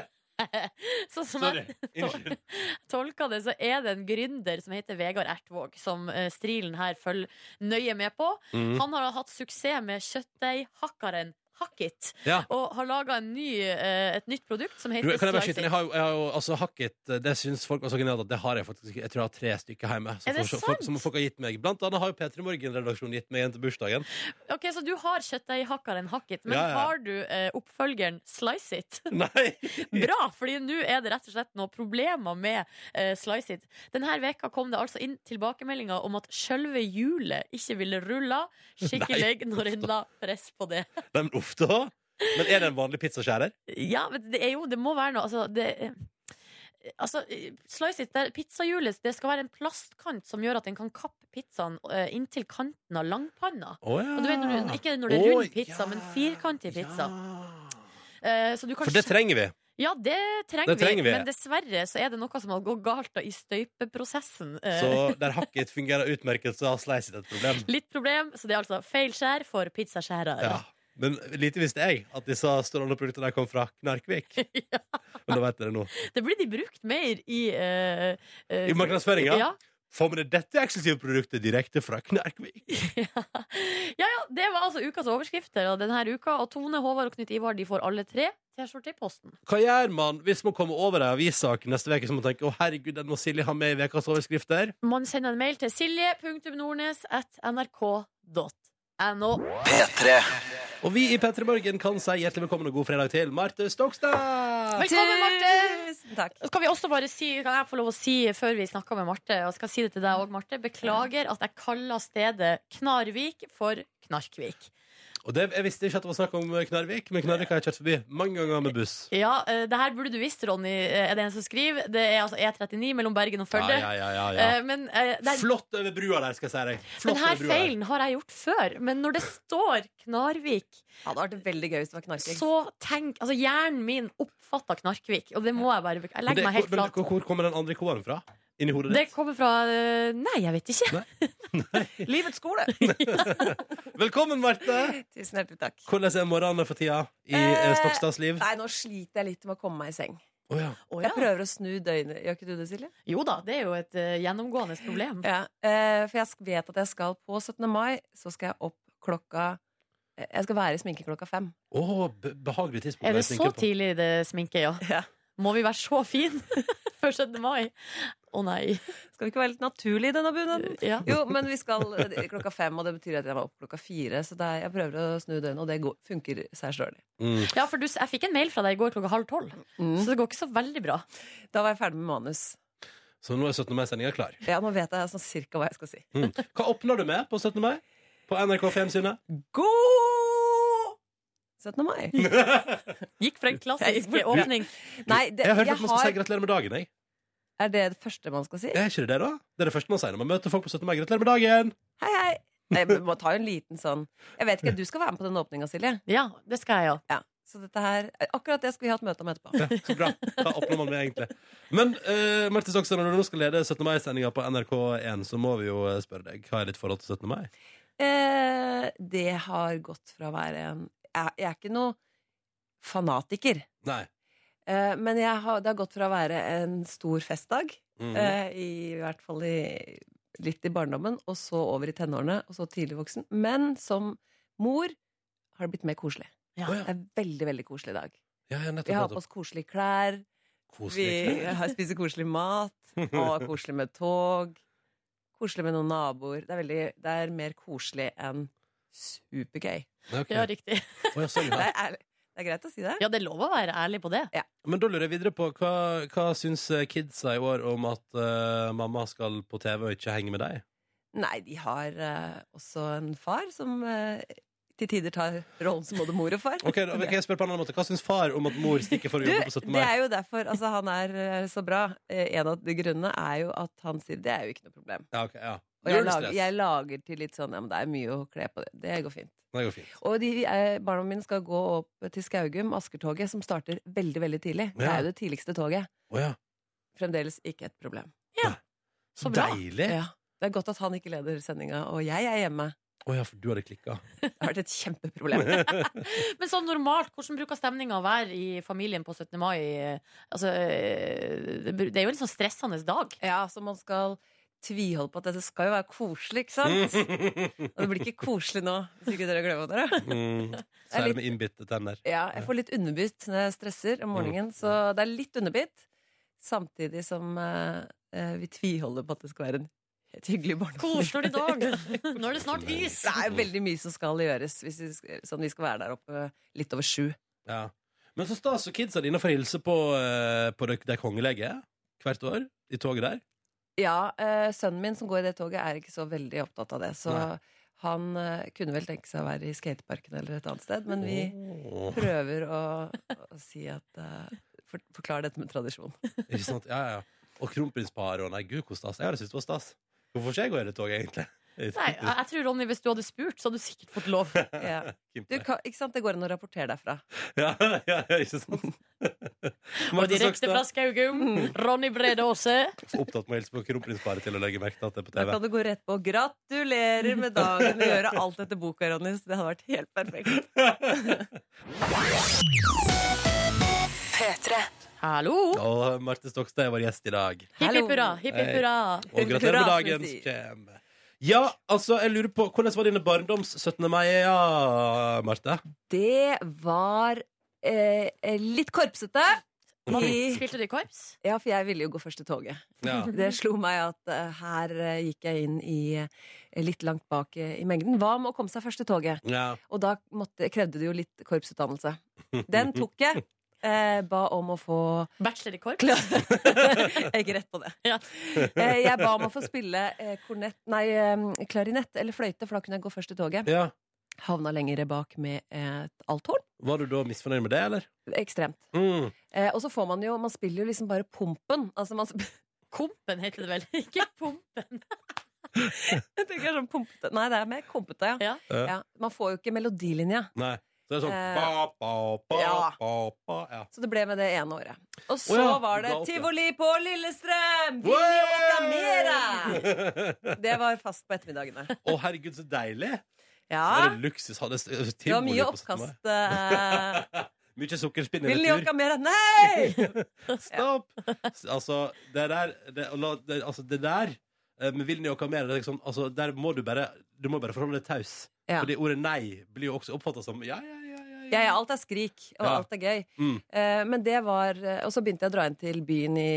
sånn som
Sorry.
jeg
Unnskyld.
tolka det, så er det en gründer som heter Vegard Ertvåg, som eh, Strilen her følger nøye med på.
Mm.
Han har hatt suksess med kjøttdeighakkeren Hackit,
Ja.
og har laga eh, et nytt produkt som
Du,
heter
kan jeg bare skyte inn? Jeg
Slice It.
har jo, jeg har jo altså, hakket Det syns folk var så genialt at det har jeg faktisk ikke. Jeg tror jeg har tre stykker hjemme. Som
Er det
folk, folk,
sant?
som folk har gitt meg. Blant annet har jo P3 Morgen-redaksjonen gitt meg en til bursdagen.
Ok, Så du har kjøttdeighakkeren Hackit, men
Ja, ja.
har du eh, oppfølgeren Slice It?
Nei!
Bra, fordi nå er det rett og slett noen problemer med eh, Slice It. Denne veka kom det altså inn tilbakemeldinger om at sjølve hjulet ikke ville rulle skikkelig når en la press på det.
Nei, men uff da. Men er det en vanlig pizzaskjærer?
Ja, men det er jo Det må være noe Altså, det Altså, eh, slice it, der, pizzahjulet Det skal være en plastkant som gjør at en kan kappe pizzaen eh, inntil kanten av langpanna.
Oh, ja.
Og du vet, når du, ikke når det er
Å,
rund pizza,
ja.
men firkantig pizza.
Ja.
Eh, så du kan
For det
skjære-
trenger vi.
Ja, det trenger,
Det trenger
vi.
vi.
Men dessverre så er det noe som har gått galt da, i støypeprosessen. Eh,
Så der hakket fungerer utmerket, så har slicet et problem.
Litt problem, så det er altså feil skjær for pizzaskjærer.
Ja. Men lite visste jeg at disse strålende produktene der kom fra Knarkvik. Men da vet dere nå.
Det blir de brukt mer i eh, eh,
I markedsføringa?
Ja.
Får vi dette eksklusive produktet direkte fra Knarkvik?
ja, ja, det var altså ukas overskrifter og denne uka. Og Tone, Håvard og Knut Ivar de får alle tre T-skjorte i posten.
Hva gjør man hvis man kommer over ei avissak neste uke som man tenker å herregud, den må Silje ha med i ukas overskrifter?
Man sender en mail til silje.nordnes.nrk.no.
P3
Og vi i P3 Morgen kan si hjertelig velkommen og god fredag til Marte Stokstad!
Velkommen, Marte!
Tusen takk.
Så Kan, vi også bare si, kan jeg få lov å si før vi snakker med Marte, og skal si det til deg òg, Marte, beklager at jeg kaller stedet Knarvik for Knarkvik.
Og det, jeg visste ikke at det var snakk om Knarvik, men Knarvik har jeg kjørt forbi mange ganger med buss.
Ja, eh, det her burde du visst, Ronny, eh, er det en som skriver. Det er altså E39 mellom Bergen og Førde.
Ja, ja, ja, ja,
Eh, Men eh, det
ja.
er
Flott over brua der, skal jeg si deg. Flott
den her
over brua der.
feilen har jeg gjort før, men når det står Knarvik,
Ja, det hadde vært veldig gøy hvis det var knarking.
så tenk Altså, hjernen min oppfatta Knarkvik, og det må jeg bare Jeg
Men det-
legger meg helt
men
flat.
Hvor, hvor kommer den andre K-en fra? Inni hodet
Det
ditt?
kommer fra eh, Nei, jeg vet ikke.
Livets skole.
Velkommen, Marte!
Tusen hjertelig takk.
Hvordan er morgenene for tida i
Eh,
eh, Stokstads liv?
Nei, nå sliter jeg litt med å komme meg i seng.
Å ja.
Å,
Jeg
ja.
prøver å snu døgnet. Gjør ikke du det, Silje?
Jo da, det er jo et eh, gjennomgående problem.
Ja. Eh, for jeg sk- vet at jeg skal på 17. mai, så skal jeg opp klokka
Jeg skal være i sminke klokka fem.
Åh, be- behagelig tidspunkt. å
Er
være
det så
sminket på.
tidlig det sminke, ja?
Ja.
Må vi være så fin før 17. mai? Å nei.
Skal vi ikke være litt naturlig i denne bunaden?
Ja.
Jo, men vi skal eh, klokka fem, og det betyr at jeg var opp klokka fire. Så det er, jeg prøver å snu døgnet, og det går, funker seg sjøl.
Mm.
Ja, for du, jeg fikk en mail fra deg i går klokka halv tolv, så det går ikke så veldig bra.
Da var jeg ferdig med manus.
Så nå er 17. mai-sendinga klar.
Ja, nå vet jeg sånn cirka hva jeg skal si.
Mm. Hva åpner du med på 17. mai? På NRK Fjernsynet?
God 17. mai.
Gikk for en klassisk åpning.
Nei, det,
Jeg har hørt at man skal si
har,
gratulerer med dagen. Jeg.
er det det første man skal si?
Er ikke det det, da? Det er det første man sier når man møter folk på 17. mai. Gratulerer med dagen!
Hei, hei. Nei, Jeg må ta en liten sånn Jeg vet ikke, Du skal være med på den åpninga, Silje.
Ja, det skal jeg, ja.
Ja, så dette her Akkurat det skulle vi hatt møte om etterpå.
Ja, så bra. Hva åpner man med, egentlig? Men uh, Marte Stokstad, når du nå skal lede 17. mai-sendinga på NRK1, så må vi jo eh, spørre deg hva er ditt forhold til 17. mai?
Eh, det har gått fra å være en Jeg, jeg er ikke noe fanatiker.
Nei.
Eh, men jeg har, det har gått fra å være en stor festdag,
Mm.
eh, i, hvert fall i, litt i barndommen, og så over i tenårene, og så tidlig voksen. Men som mor har det blitt mer koselig.
Å, ja.
Det er veldig, veldig koselig i dag.
Ja, ja, nettopp,
Vi har på
nettopp.
oss koselige klær, vi
Koselig.
har- spiser koselig mat, og koselig med tog. Koselig med noen naboer. Det er, veldig, det er mer koselig enn supergøy.
Ja, ok.
Ja, riktig.
Å, ja, sånn,
Det
ja.
er, ærlig. det er greit å si det.
Ja, det er lov å være ærlig på det.
Men da lurer jeg videre på hva, hva syns eh, kidsa i år om at eh, mamma skal på TV og ikke henge med deg?
Nei, de har eh, også en far som eh, til tider tar rollen som både mor og far.
Ok, da kan jeg spørre på en annen måte Hva syns far om at mor stikker for å
Du,
jobbe på 17. mai?
det er jo derfor altså, han er eh, så bra. Eh, En av de grunnene er jo at han sier det er jo ikke noe problem.
Ja, ok, ja.
Og jeg
Null
lager,
stress.
jeg lager til litt sånn ja, men det er mye å kle på det. Det går fint.
Det går fint.
Og de, eh, barna mine skal gå opp til Skaugum, Askertoget, som starter veldig veldig tidlig. Det
Ja.
er jo det tidligste toget.
Å ja.
Fremdeles ikke et problem.
Så bra.
Deilig!
Ja. Det er godt at han ikke leder sendinga, og jeg er hjemme.
Å ja, for du hadde klikka.
Det har vært et kjempeproblem.
Men sånn normalt, hvordan bruker stemninga å være i familien på 17. mai? Altså, eh, det br- det er jo en litt sånn stressende dag.
Ja, så man skal tviholde på at dette skal jo være koselig, ikke sant? Og det blir ikke koselig nå, hvis ikke dere glemmer dere.
Mm. Så er det med innbitte tenner.
Ja, jeg får litt underbitt når jeg stresser om
Mm.
morgenen, så det er litt underbitt. Samtidig som eh, eh, vi tviholder på at det skal være en et hyggelig barnefamilie.
Koselig dag! Nå er det snart is!
Det er jo veldig mye som skal gjøres, hvis vi, sk- sånn vi skal være der oppe litt over sju.
Ja. Men så stas og kidsa dine får hilse på, eh, på det, det kongelige hvert år. I toget der.
Ja, eh, sønnen min som går i det toget, er ikke så veldig opptatt av det, så
Nei.
han eh, kunne vel tenke seg å være i skateparken eller et annet sted, men Mm, vi
Åh,
prøver å, å si at eh, for, Forklar dette med tradisjon.
ikke sant? Ja, ja, ja. Og kronprinsparet og nei, gud, hvor stas. Jeg hadde syntes det var stas. Hvorfor skal jeg gå i det toget, egentlig?
Nei, jeg jeg tror, Ronny, hvis du hadde spurt, så hadde du sikkert fått lov.
Ja. Du, kan, ikke sant? Det går an å rapportere derfra.
Ja, ja, ja, ikke sant?
Og
Marte
direkte
Stokstad,
fra
Mm.
Skaugum, Ronny Brede Aase.
for opptatt med å hilse på kronprinsparet til å legge merke til at det er på
Da
TV.
kan du gå rett på 'gratulerer med dagen' og gjøre alt etter boka, Ronny. Så det hadde vært helt perfekt.
Hallo!
Og Marte Stokstad er vår gjest i dag.
Hipp hipp hurra, hipp hipp
Hei.
hurra.
Og gratulerer med
Hurra,
dagen
som vi
som kommer. Ja, altså, jeg lurer på Hvordan var dine barndoms 17. mai, ja, Marte?
Det var eh, eh, litt korpsete. I,
Spilte du i korps?
ja, for jeg ville jo gå først i toget.
Ja.
Det slo meg at eh, her eh, gikk jeg inn i eh, litt langt bak eh, i mengden. Hva med å komme seg først i toget?
ja.
Og da måtte, krevde det jo litt korpsutdannelse. Den tok jeg. Eh, ba om å få
Bachelor i korps?
Jeg gikk rett på det.
Ja.
Eh, jeg ba om å få spille eh, kornett, nei, eh, klarinett eller fløyte, for da kunne jeg gå først i toget.
ja.
Havna lenger bak med et althorn.
Var du da misfornøyd med det, eller?
Ekstremt.
Mm.
Eh, og så får man jo Man spiller jo liksom bare pompen. Altså man sp-
Kompen heter det vel? Ikke pompen.
Jeg tenker sånn pompete Nei, det er mer kompete, ja.
Ja.
Ja.
ja. Man får jo ikke melodilinja.
Nei. Så det er sånn
Eh,
ba, ba, ba,
ja.
ba, ba, ja.
Så det ble med det ene året. Og så
Å ja,
var
du
det
ga opp, ja.
tivoli på Lillestrøm! Vinni Okamera! Det var fast på ettermiddagene.
Å, herregud, så deilig! Det
Ja,
var luksus. Hadde s-
det var
tivoli
mye
på 17. mai.
oppkast. eh,
Mye sukkerspinn i
Vil ni
retur.
åka mer? Nei!
Stopp! Altså, det der det, la- det, altså, det der eh, med Vilni og Kamel, det er liksom, altså, der må du bare Du må bare forholde deg taus.
Ja.
Fordi ordet nei blir jo også oppfatta som ja, ja, ja.
Ja, ja, alt er skrik, og
Ja.
alt er gøy.
Mm.
Eh, men det var eh, Og så begynte jeg å dra inn til byen i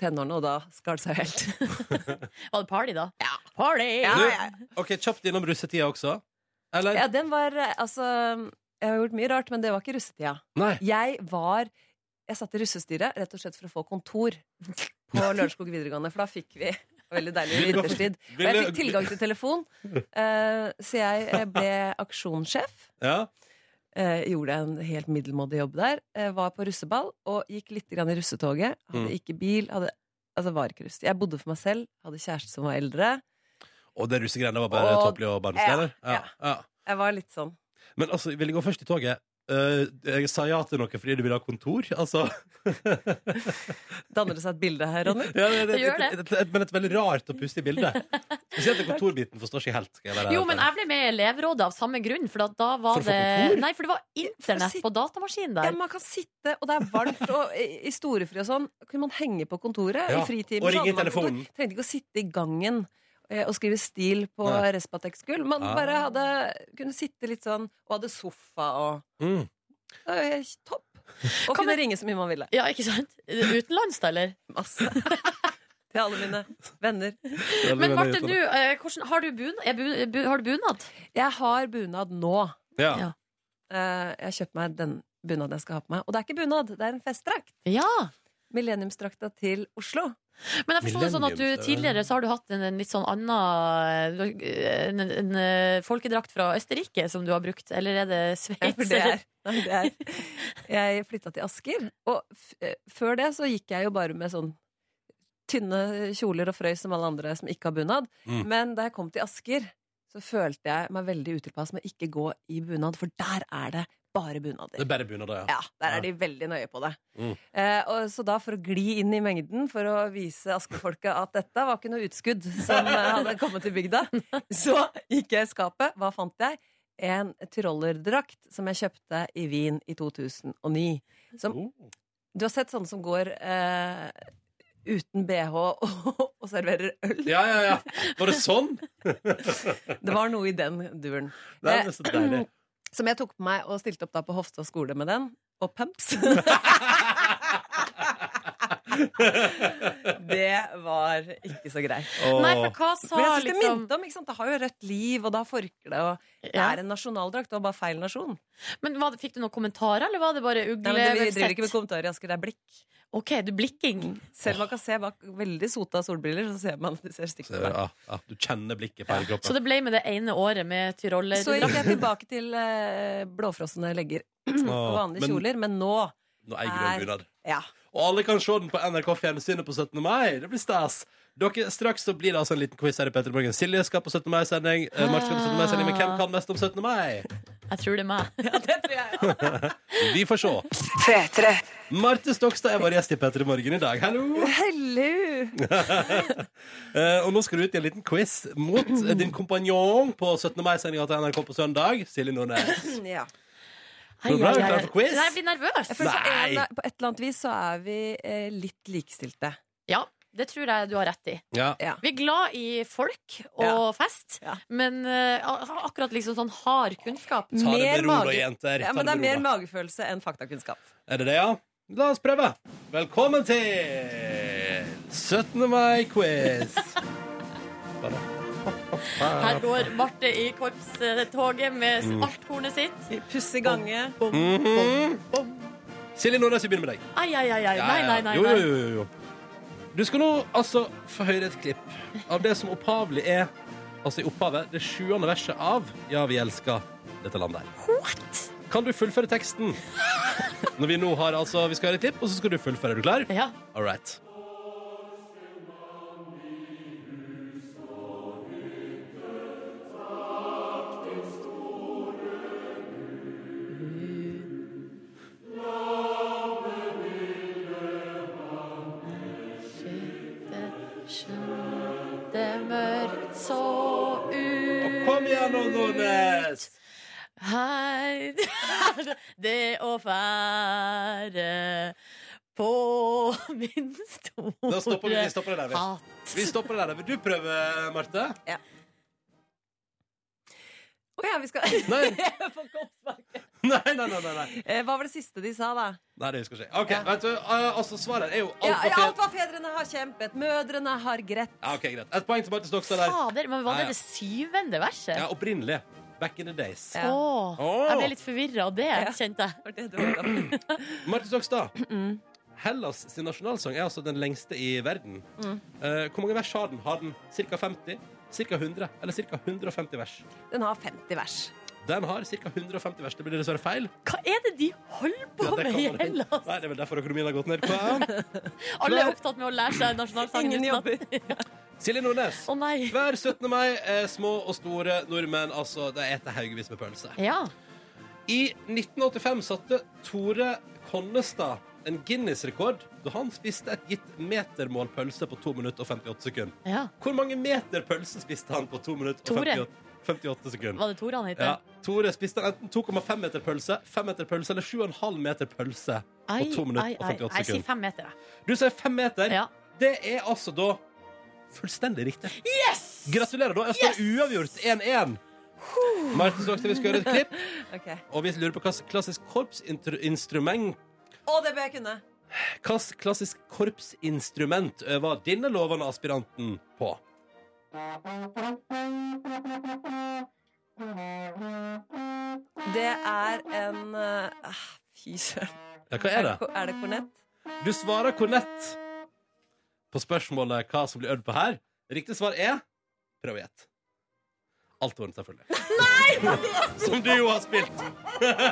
tenårene, og da skar det seg jo helt.
Var det party, da? Ja. Party!
Du, OK, kjapt innom russetida også. Eller?
Ja, den var eh, Altså, jeg har gjort mye rart, men det var ikke russetida.
Nei.
Jeg var Jeg satt i russestyret rett og slett for å få kontor på Lørenskog videregående, for da fikk vi Veldig deilig vinterstid. Og jeg fikk tilgang til telefon, eh, så jeg eh, ble aksjonssjef.
Ja.
Eh, gjorde en helt middelmådig jobb der. Eh, var på russeball og gikk litt grann i russetoget. Hadde
Mm.
ikke bil. Hadde, altså var ikke russ. Jeg bodde for meg selv, hadde kjæreste som var eldre.
Og det russegreiene var bare
Og-
tåpelig og barnslig,
Ja,
eller? Ja, ja.
Jeg var litt sånn.
Men altså, vil jeg gå først i toget? Eh, jeg sa ja til noe fordi du ville ha kontor. Altså,
Danner det seg et bilde her, Ronny?
ja, det,
Det gjør det.
Et, et, et, men et veldig rart og pussig bilde. Spesielt den kontorbiten forstår ikke helt. Skal jeg være
Jo,
helt
men
ærlig.
jeg ble med i elevrådet av samme grunn, for at da var
For å få
det
kontor?
Nei, for det var internett
sitte-
på datamaskinen
Ja,
der.
man kan sitte, og det er varmt, og i i storefri og sånn. Kunne man henge på kontoret
Ja,
i fritiden?
og
så
ringe i
hadde man kontor.
telefonen.
Trengte ikke å sitte i gangen eh, og skrive stil på
Nei.
Respatex-gull. Man
Ah.
bare hadde, kunne sitte litt sånn, og hadde sofa og
Mm.
det var helt Topp!
Kan
Og kunne
jeg-
ringe så mye man ville.
Ja, ikke sant? Utenlands, da, eller?
Masse. Til alle mine venner.
Veldig,
Men
veldig
Marte,
utlånt.
du, eh, hvordan, har, du bun, er bu, bu, har du bunad?
Jeg har bunad nå.
ja.
Ja.
Eh, Jeg har kjøpt meg den bunaden jeg skal ha på meg. Og det er ikke bunad, det er en festdrakt.
Ja.
Millenniumsdrakta til Oslo.
Men jeg forstår det sånn at
Millenniums,
du
eh. det er-
tidligere så har du hatt en, en litt sånn annen eh, en, en, eh, folkedrakt fra Østerrike som du har brukt, eller er det
Ja,
Sveits?
Eh, for det er, nei, det er. Jeg flytta til Asker, og f eh, før det så gikk jeg jo bare med sånn tynne kjoler og frøys som alle andre som ikke har bunad.
Mm.
Men da jeg kom til Asker, så følte jeg meg veldig utilpass med ikke gå i bunad, for der er det bare
Det
bunader.
er bare bunader, ja.
Ja, der er de veldig nøye på det.
Mm.
Eh, og så da for å gli inn i mengden, for å vise Asker-folket at dette var ikke noe utskudd som eh, hadde kommet til bygda, så gikk jeg i skapet. Hva fant jeg? En trollerdrakt som jeg kjøpte i Wien i 2009. Som,
Oh.
du har sett sånne som går eh, uten bh og, og serverer øl?
ja, ja, ja. Var det sånn?
Det var noe i den duren.
Det
Eh,
er så deilig.
Som jeg tok på meg og stilte opp da på Hofstad skole med den. Og pumps. det var ikke så greit.
Nei,
Åh.
for hva sa
Men jeg synes det
liksom
minte om, ikke sant? Det har jo rødt liv, og det har forkle, og det
ja.
er en nasjonaldrakt. Det var bare feil nasjon.
Men hva, Fikk du noen kommentarer, eller var det bare
Nei,
ugle?
men det, vi
hvem
driver ikke med
sett?
kommentarer, Asker. Det er blikk.
OK, du blikking.
Selv om man kan se bak veldig sota solbriller, så ser man at de ser
Så,
stygt på deg.
ja, ja, du kjenner blikket på hele
Så
kroppen.
det ble med det ene året med tyroller.
Så gikk jeg tilbake til eh, blåfrosne legger og
Åh,
vanlige kjoler, men nå
Nå eier du en
er-
bunad.
ja.
Og alle kan se den på NRK Fjernsynet på 17. mai. Det blir stas. Dere, straks så blir det altså en liten quiz her i Petter Morgen. Silje skal på 17. mai-sending. Eh, Marte skal på 17. mai-sending. Men hvem kan mest om 17. mai?
Jeg tror det er meg.
ja, det tror jeg. Ja.
Vi får se. Marte Stokstad er vår gjest i Petter Morgen i dag. Hallo!
Hello!
Eh, og nå skal du ut i en liten quiz mot eh, din kompanjong på 17. mai-sendinga til NRK på søndag. Silje Nordnes.
Ja.
Går det bra? Er du klar for quiz?
Nei, jeg blir nervøs.
Jeg føler på,
Nei.
en, på et eller annet vis så er vi eh, litt likestilte.
Ja, det tror jeg du har rett i.
Ja.
Ja.
Vi er glad i folk og
Ja.
fest,
Ja.
men eh, ak- akkurat liksom sånn hard kunnskap
Ta det
Mer
med ro, da,
mage-
jenter.
Ja,
Ta
men det er
med ro,
mer
da.
magefølelse enn faktakunnskap.
Er det det, ja? La oss prøve. Velkommen til 17. mai-quiz.
Her går Marte i korpstoget med
Mm.
svarthornet sitt.
Vi pusser gange.
Mhm. Silje Nordnes, vi begynner med deg.
Ai, ai, ai, ai.
Ja,
Nei,
ja.
nei, nei.
Jo,
nei.
jo, jo, jo. Du skal nå altså få høre et klipp av det som opphavlig er Altså i opphavet, det sjuende verset av Ja, vi elsker dette landet her. Kan du fullføre teksten? Når vi nå har altså Vi skal høre et klipp, og så skal du fullføre. Er du klar?
Ja.
All right.
Det er mørkt så ut
Kom igjen nå, Nordnes!
Her Det å fære på min store
Da stopper vi, vi stopper det der. Vi.
hatt.
vi stopper det der. Vil du prøve, Marte?
Å ja, vi skal
Nei,
Jeg får kopsbak.
nei, nei. nei, nei, nei.
Eh, Hva var det siste de sa, da?
Nei, det husker jeg ikke. Ok, vet du, eh, altså Svaret er jo alt
Ja,
var
ja,
fel.
alt hva fedrene har kjempet. Mødrene har grett.
Ja, ok, greit. Et poeng til Marte Stokstad der.
Fader, men var
Ja, ja.
det det syvende verset?
Ja, Opprinnelig. Back in the days.
Ja.
Åh,
Åh.
Jeg ble litt forvirra av det, kjente jeg.
Var det du var oppe?
Marte Stokstad. Hellas sin nasjonalsang er altså den lengste i verden.
Mm.
Eh, hvor mange vers har den? Har den ca. 50? Ca. 100? Eller ca. 150 vers?
Den har 50 vers.
Den har ca. 150 vers. Det blir dessverre feil.
Hva er det de holder på
det
med
kan
i
man-
Hellas?
Nei, det er vel derfor økonomien har gått ned. Hva?
Alle er opptatt med å lære seg nasjonalsangen. uten
Ingen
at-
jobber.
Silje Nordnes.
Å nei.
Hver 17. mai er små og store nordmenn altså, de eter haugevis med pølse.
Ja.
I 1985 satte Tore Konnestad en Guinness-rekord da han spiste et gitt metermål pølse på 2 minutter og 58 sekunder.
ja.
Hvor mange meter pølse spiste han på 2 minutter og
Tore.
58, 58 sekunder?
Var det Tore han het?
Ja, Tore spiste han enten 2,5 meter pølse, 5 meter pølse eller 7,5 meter pølse på 2 minutter og 58
Jeg sier
sekunder.
fem meter, jeg.
Du sier 5 meter.
Ja.
Det er altså da fullstendig riktig.
Yes!
Gratulerer, da. Jeg står uavgjort 1-1. Martin Stokstad, vi skal gjøre et klipp,
Ok.
og vi lurer på hva slags klassisk korpsinstrument
Å, det bør jeg kunne.
Hvilket klassisk korpsinstrument øver denne lovende aspiranten på?
Det er en eh, ah, Fy søren.
Ja, hva er det?
ko- Er det kornett?
Du svarer kornett på spørsmålet hva som blir øvd på her. Riktig svar er prøv å gjette. Althorn, selvfølgelig. Som du jo har spilt.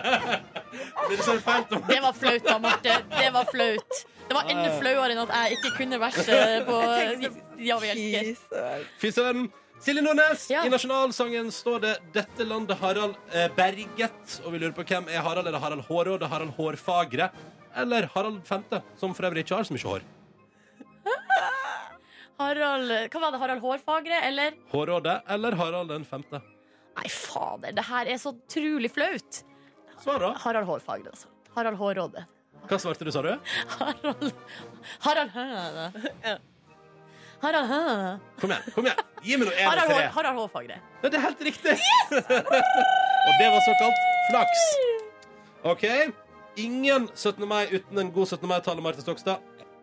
Blir det så feil? Tom?
Det var flaut da, Marte. Det var flaut. Det var enda flauere enn at jeg ikke kunne verset på
sånn,
Ja, vi elsker.
Fy søren.
Fy søren. Silje Nordnes,
Ja.
i nasjonalsangen står det 'Dette landet Harald eh, berget'. Og vi lurer på hvem er Harald? Er det Harald Hårråd, er det Harald Hårfagre eller Harald 5., som for øvrig ikke har så mye hår?
Harald, hva var det? Harald Hårfagre, eller?
Hårrådet eller Harald den 5.?
Nei, fader, det her er så utrolig flaut.
Svar, da.
Harald Hårfagre, altså. Harald Hårråde.
Hva svarte du, sa du?
Harald Harald Høne. Harald Høne.
Kom igjen. kom igjen Gi meg nå én og
Harald,
tre.
Hår- Harald Hårfagre.
Ja, det er helt riktig! og det var såkalt flaks. OK. Ingen 17. mai uten en god 17. mai-tale, Marte Stokstad.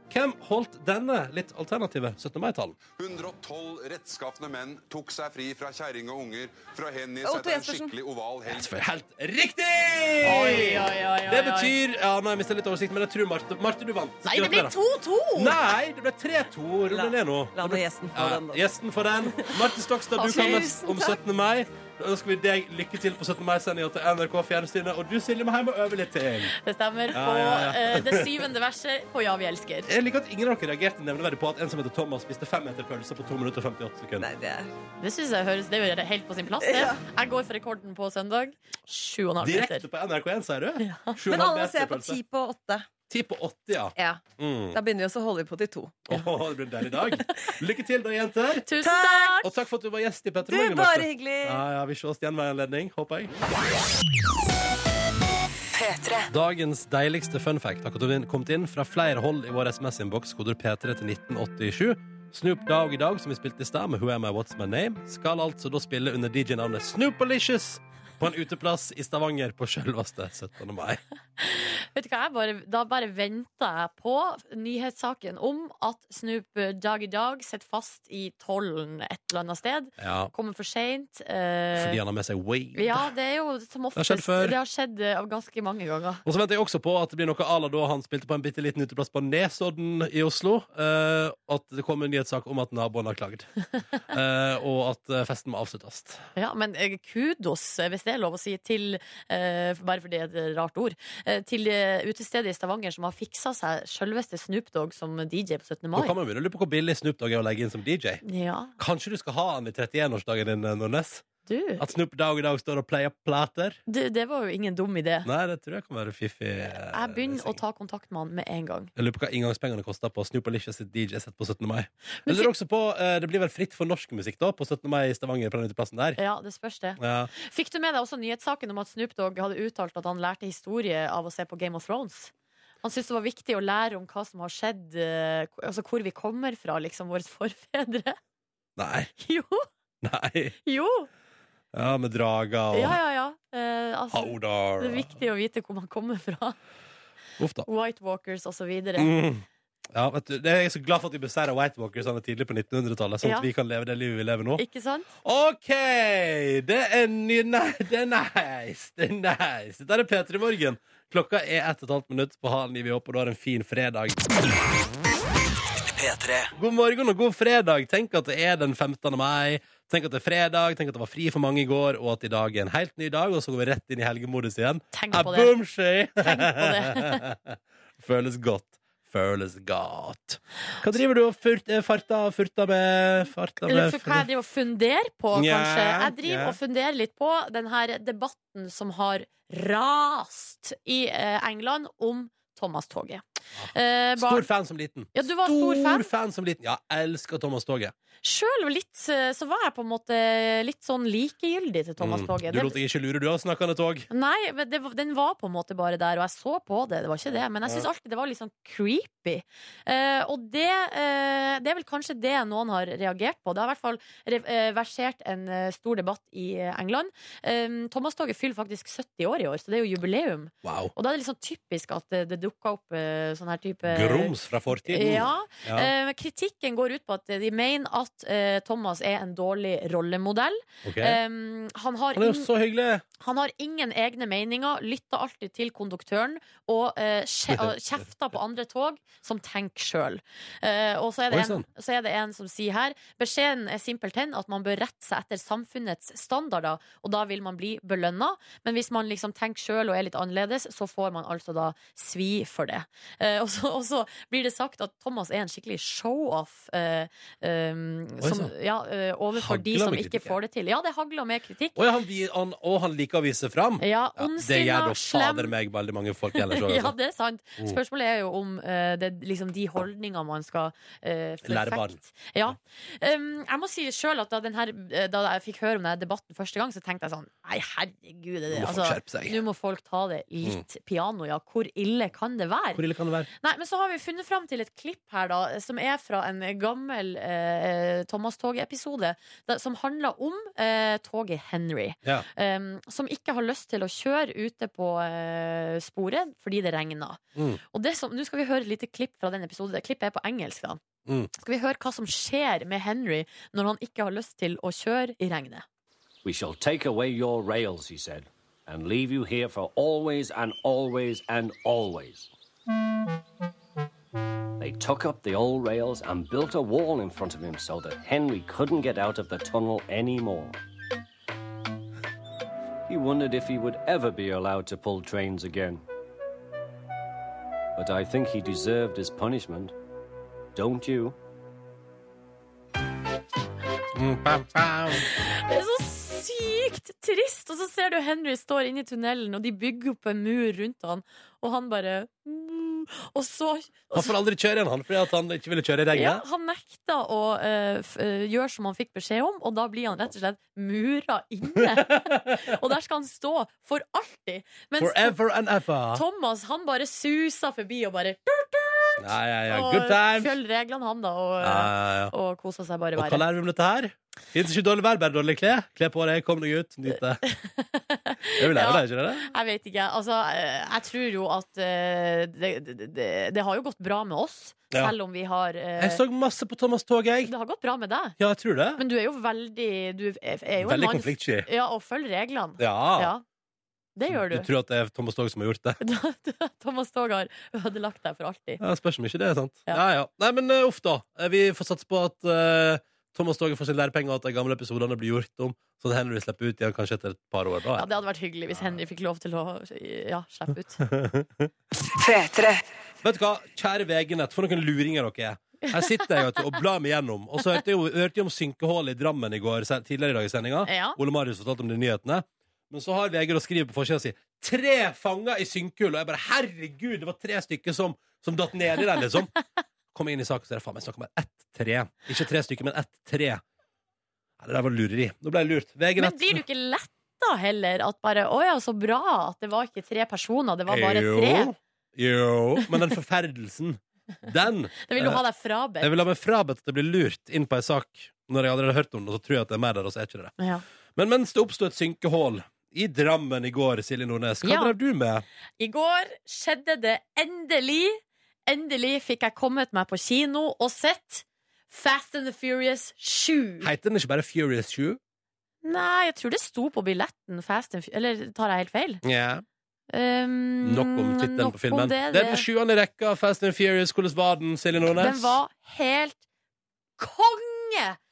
Hvem holdt denne litt alternative 17. mai-talen?
112 rettskafne menn tok seg fri fra kjerring og unger for å hengi
Otto
seg til en
Jespersen.
skikkelig oval helg.
For helt riktig!
Oi, oi, oi, oi, oi.
Det betyr Ja, nå har jeg mista litt oversikt, men jeg tror Marte, Marte du vant.
Nei, det ble
Gratulerer.
2-2!
Nei, det ble 3-2. Rulle ned nå.
La nå gjesten få
Ja,
den, da.
gjesten for den. Marte Stokstad, du
Tusen
kan mest om
takk.
17. mai. Da ønsker vi deg lykke til på 17. mai-sendinga til NRK Fjernsynet. Og du, Silje, må hjem og øve litt til.
Det stemmer. På
Ja, ja, ja.
eh, det syvende verset på Ja, vi elsker.
Jeg liker at ingen av dere reagerte nevneverdig på at en som heter Thomas, spiste fem meter pølse på 2 minutter og 58 sekunder.
Nei, det er
Det synes jeg høres Det er jo helt på sin plass. Det.
Ja.
Jeg går for rekorden på søndag. Sju og en halv meter.
Direkte på NRK1, sier du? Sju og en
Men
halv
alle
meter
ser på
pølse.
ti på åtte.
Ti på 80, ja.
Ja.
Mm.
Da begynner vi også å holde på til to.
Åh, det blir en deilig dag. Lykke til, da, jenter.
Tusen takk!
Og takk for at du var gjest i Petter
Du,
Morgen.
bare
Marte.
hyggelig.
Ja, ja, vi ses igjen ved en anledning, håper jeg. Dagens deiligste fun fact har kommet inn- kommet inn fra flere hold i vår SMS-innboks, koder P3 til 1987. Snoop Dogg i dag, som vi spilte i stad med Who Am I, What's My Name, skal altså da spille under DJ-navnet Snoopalicious på en uteplass i Stavanger på selveste 17. mai.
Vet du hva, jeg bare, Da bare venta jeg på nyhetssaken om at Snoop Doggy Dog sitter fast i tollen et eller annet sted.
Ja,
Kommer for seint.
fordi han har med seg weed.
Ja, det er jo som
har
oftest
skjedd før.
Det har skjedd eh, ganske mange ganger.
Og så venter jeg også på at det blir noe à la da han spilte på en bitte liten uteplass på Nesodden i Oslo. eh, at det kom en nyhetssak om at naboen har klagd. Eh, og at eh, festen må avsluttes.
Ja, Men eh, kudos, eh, hvis det er lov å si, til eh, Bare fordi det er et rart ord. eh, Til eh, utestedet i Stavanger som har fiksa seg sjølveste Snoop Dogg som DJ på 17.
Nå
mai.
kan man begynne å lure på hvor billig Snoop Dogg er å legge inn som DJ.
Ja,
Kanskje du skal ha han i 31-årsdagen din, eh, Nordnes?
du.
At Snoop Dogg i dag står og player plater?
du. Det var jo ingen dum idé.
Nei, det tror jeg kan være fiffig. eh,
Jeg begynner å
løsning.
ta kontakt med han med en gang.
Jeg lurer på hva inngangspengene koster på Snoopalicious sitt DJ-sett på 17. mai. Eller også på, eh, Det blir vel fritt for norsk musikk da, på 17. mai i Stavanger, på den uteplassen der.
Ja, det spørs det.
Ja.
Fikk du med deg også nyhetssaken om at Snoop Dogg hadde uttalt at han lærte historie av å se på Game of Thrones? Han syntes det var viktig å lære om hva som har skjedd, eh, altså hvor vi kommer fra, liksom, våre forfedre.
Nei.
Jo!
Nei.
Jo!
Ja, med drager og
Ja, ja, ja. Eh, altså,
Haudar.
det er viktig å vite hvor man kommer fra.
Uff da.
White Walkers og så videre.
Mm. Ja, vet du, det er jeg så glad for at vi beseira White Walkersene tidlig på 1900-tallet, sånn
Ja.
at vi kan leve det livet vi lever nå.
Ikke sant?
OK! Det er, ny, nei, det er nice! Det er nice. Dette er P3 Morgen. Klokka er ett og et halvt minutt på halv ni. Vi håper du har en fin fredag.
P3.
God morgen og god fredag. Tenk at det er den 15. mai. Tenk at det er fredag, tenk at det var fri for mange i går, og at i dag er en helt ny dag, og så går vi rett inn i helgemodus igjen.
Tenk
Ah,
på det.
boom, she.
Tenk på det.
Føles godt. Føles godt. Hva driver du og furt, eh, farta og furta med? Farta
Eller
med
for hva jeg driver og funderer på,
Nja,
kanskje. Jeg driver
ja.
og funderer litt på den her debatten som har rast i eh, England om Thomas-toget. Eh,
Ah, Stor
barn-
fan som liten.
Ja, du var stor fan.
som liten. Ja, elsker Thomas Toget.
Sjøl litt, eh, så var jeg på en måte litt sånn likegyldig til
Mm,
Thomas-toget.
Du
Det-
lot deg ikke lure, du har snakkende tog.
Nei, men det, var- den var på en måte bare der, og jeg så på det. Det var ikke det. Men jeg syns alltid det var litt sånn creepy. Eh, og det, eh, det er vel kanskje det noen har reagert på. Det har i hvert fall re- eh, versert en eh, stor debatt i eh, England. Eh, Thomas-toget fyller faktisk 70 år i år, så det er jo jubileum.
Wow.
Og da er det litt sånn typisk at det, det dukker opp eh, sånn her type
Grums fra fortiden.
Ja,
Ja,
eh, Kritikken går ut på at de mener at eh, Thomas er en dårlig rollemodell.
ok.
Eh, han har
Han er jo
ing-
så hyggelig.
han har ingen egne meninger, lytter alltid til konduktøren og eh, kje- og kjefter på andre tog som tenker sjøl. Eh, og så er, det
Oi, sånn.
en, så er det en som sier her beskjeden er simpelthen at man bør rette seg etter samfunnets standarder, og da vil man bli belønna. Men hvis man liksom tenker sjøl og er litt annerledes, så får man altså da svi for det. Eh, og, så, og så blir det sagt at Thomas er en skikkelig show-off eh, eh, som,
sann.
ja, eh, overfor de
sånn. Hagler
som
med
ikke
kritikk, ja.
får det til. Ja, det hagler med kritikk.
Å ja, han, vi- han, og han liker å vise fram.
Ja,
Ja, det
Eh, ondsinna,
gjør da
slem
fader meg veldig mange folk ellers òg.
Ja,
Altså.
det er sant.
Mm.
Spørsmålet er jo om eh, det, er liksom, de holdningene man skal uh,
Lære barn.
Ja. Um, jeg må si sjøl at da, den her, eh, da jeg fikk høre om denne debatten første gang, så tenkte jeg sånn Nei, herregud, det,
Nå må folk
altså,
skjerpe seg.
nå må folk ta det litt piano, ja. Hvor ille kan det være?
Hvor ille kan det være?
Nei, men så har vi funnet fram til et klipp her da som er fra en gammel eh, Thomas Toge-episode. da- Som handler om eh, toget Henry.
Ja.
Um, som ikke har lyst til å kjøre ute på eh, sporet fordi det regner.
Mm.
Og det som, nå skal vi høre et lite klipp fra den episoden. Det Klippet er på engelsk. da
Mm.
Skal vi høre hva som skjer med Henry når han ikke har lyst til å kjøre i regnet.
We shall take away your rails, he said, and leave you here for always and always and always. They took up the old rails and built a wall in front of him so that Henry couldn't get out of the tunnel anymore. He wondered if he would ever be allowed to pull trains again. But I think he deserved his punishment, don't you?
Mm.
Det er så sykt trist! Og så ser du Henry står inne i tunnelen, og de bygger opp en mur rundt han, og han bare mm, Og så
Han får aldri kjøre igjen, han, fordi at han ikke ville kjøre i
ja,
regnet.
Han nekta å eh, f- eh, gjøre som han fikk beskjed om, og da blir han rett og slett mura inne. og der skal han stå for alltid. Mens
Forever and ever.
Thomas han bare suser forbi og bare
Ja, ja, ja.
og
Good times.
følger reglene, han, da, og,
Ja, ja, ja.
og koser seg bare
Og hva
verre.
lærer vi om dette her? Fins ikke dårlig vær, bare dårlig klær. Kle på deg, kom deg ut, nyt det. Det vil lære
Ja.
deg, ikke det?
Jeg vet ikke. Altså, eh, jeg tror jo at eh, det, det, det, det har jo gått bra med oss,
Ja.
selv om vi har eh,
Jeg så masse på Thomas Tog, jeg.
Det har gått bra med deg.
Ja, jeg tror det.
Men du er jo veldig Du er er jo en
Veldig
mann
konfliktsky.
Ja, og følger reglene.
Ja.
Ja. Det gjør du.
Du tror at det er Thomas Tog som har gjort det?
Thomas Tog har ødelagt deg for alltid.
Ja, Spørs om ikke det er sant.
Ja.
Ja, ja. Nei, men eh, uff da. Eh, Vi får satse på at eh, Thomas Toget får sine lærepenger, og at de gamle episodene blir gjort om, så Henry slipper ut igjen kanskje etter et par år.
Ja,
Da,
Det hadde vært hyggelig hvis Henry fikk lov til å ja, slippe ut.
Vet du hva, kjære VG-nett, for noen luringer dere er. Her sitter jeg vet du, og blar meg gjennom. Og så hørte jeg, jo- hørte jeg om synkehullet i Drammen i går, se- tidligere i dag i sendinga.
Ja.
Ole Marius fortalte om de nyhetene. Men så har VG da skriver på forsida si 'Tre fanger i synkehull', og jeg bare 'herregud', det var tre stykker som, som datt nedi der, liksom. Kom inn i saken, så er det faen meg snakk om et tre. Ikke tre stykker, men ett tre. Nei, det der var lureri. Nå ble jeg lurt.
Men
VG-nett.
blir du ikke letta heller? At bare 'Å ja, så bra at det var ikke tre personer, det var bare
Jo.
tre'?
Jo, men den forferdelsen, den
Det vil du ha deg frabedt.
Jeg vil ha meg frabedt at jeg blir lurt inn på ei sak når jeg allerede har hørt om det, og så tror jeg at det er mer der, og så er ikke det det.
Ja.
Men mens det oppsto et synkehull i Drammen i går, Silje Nordnes, hva
Ja.
drev du med?
I går skjedde det endelig. Endelig fikk jeg kommet meg på kino og sett Fast and the Furious 7.
Heter den ikke bare Furious 7?
Nei, jeg tror det sto på billetten Fast and Fu- Eller tar jeg helt feil?
Ja.
Um,
Nok om tittelen
nok
på
om
filmen. Det,
det,
er
det-
den sjuende i rekka, Fast and Furious. Hvordan var den, Silje Nordnes?
Den var helt konge!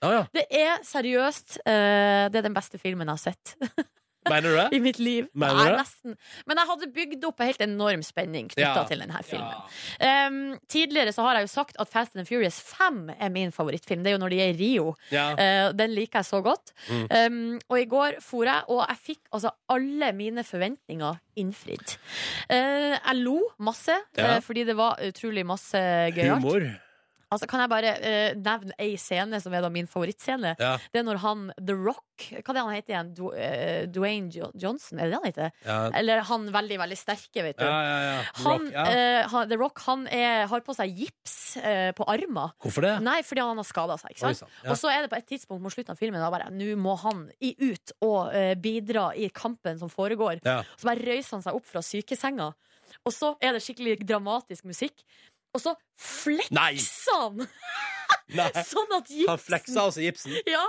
Ja, ja.
Det er seriøst eh, Det er den beste filmen jeg har sett
Mener du det?
i mitt liv.
Mener du
Nei,
det?
nesten. Men jeg hadde bygd opp en helt enorm spenning knytta
Ja.
til denne filmen.
Ja.
Um, tidligere så har jeg jo sagt at Fast and the Furious 5 er min favorittfilm. Det er jo når de er i Rio.
Ja.
Eh, den liker jeg så godt.
Mm.
Um, og i går for jeg, og jeg fikk altså alle mine forventninger innfridd. Eh, jeg lo masse,
Ja.
eh, fordi det var utrolig masse gøyalt.
Humor.
Altså, kan jeg bare eh, nevne ei scene som er da min favorittscene?
Ja.
Det er når han The Rock Hva er det han heter igjen? Du, eh, Dwayne jo Johnson? Er det det han heter?
Ja.
Eller han veldig, veldig sterke, vet du.
Ja, ja, ja. Rock,
Eh, Han,
ja.
eh, han, The Rock han er, har på seg gips eh, på armen.
Hvorfor det?
Nei, fordi han har skada seg. Ikke
Oi
sant?
sann. Ja.
Og så er det på et tidspunkt mot slutten av filmen da bare Nå må han i, ut og eh, bidra i kampen som foregår.
Ja.
Så bare røyser han seg opp fra sykesenga, og så er det skikkelig dramatisk musikk. Og så
Nei.
flekser han!
Nei.
Sånn at
Han fleksa
gipsen
altså gipsen.
ja,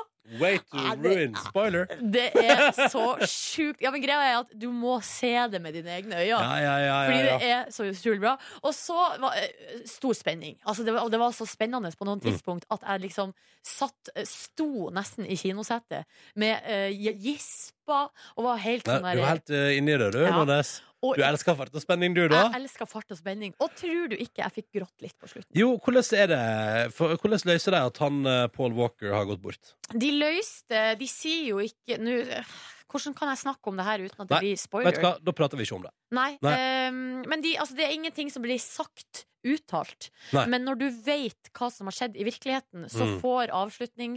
Way to
Ja, det-
ruin. Spoiler.
det er så sjukt. Ja, men greia er at du må se det med dine egne øyne.
Ja, ja, ja, ja,
Fordi
ja.
det er så utrolig bra. Og så var eh, stor spenning. Altså, det, var, og det var så spennende på
Mm.
noen tidspunkt at jeg liksom satt eh, Sto nesten i kinosetet med eh, gispa og var helt
Nei,
sånn
du er
der
helt eh, inni det, du,
Ja.
Nordnes.
og-
Du elsker fart og spenning, du, da?
Jeg elsker fart og spenning. Og tror du ikke jeg fikk grått litt på slutten?
Jo, hvordan er det for, Hvordan løser de at han eh, Paul Walker har gått bort?
De løste De sier jo ikke Nå eh, Hvordan kan jeg snakke om det her uten at det
Nei,
blir spoiler?
Vet du hva, Da prater vi ikke om det.
Nei.
Nei.
ehm, men de, altså, det er ingenting som blir sagt uttalt.
Nei.
Men når du vet hva som har skjedd i virkeligheten, så
Mm.
får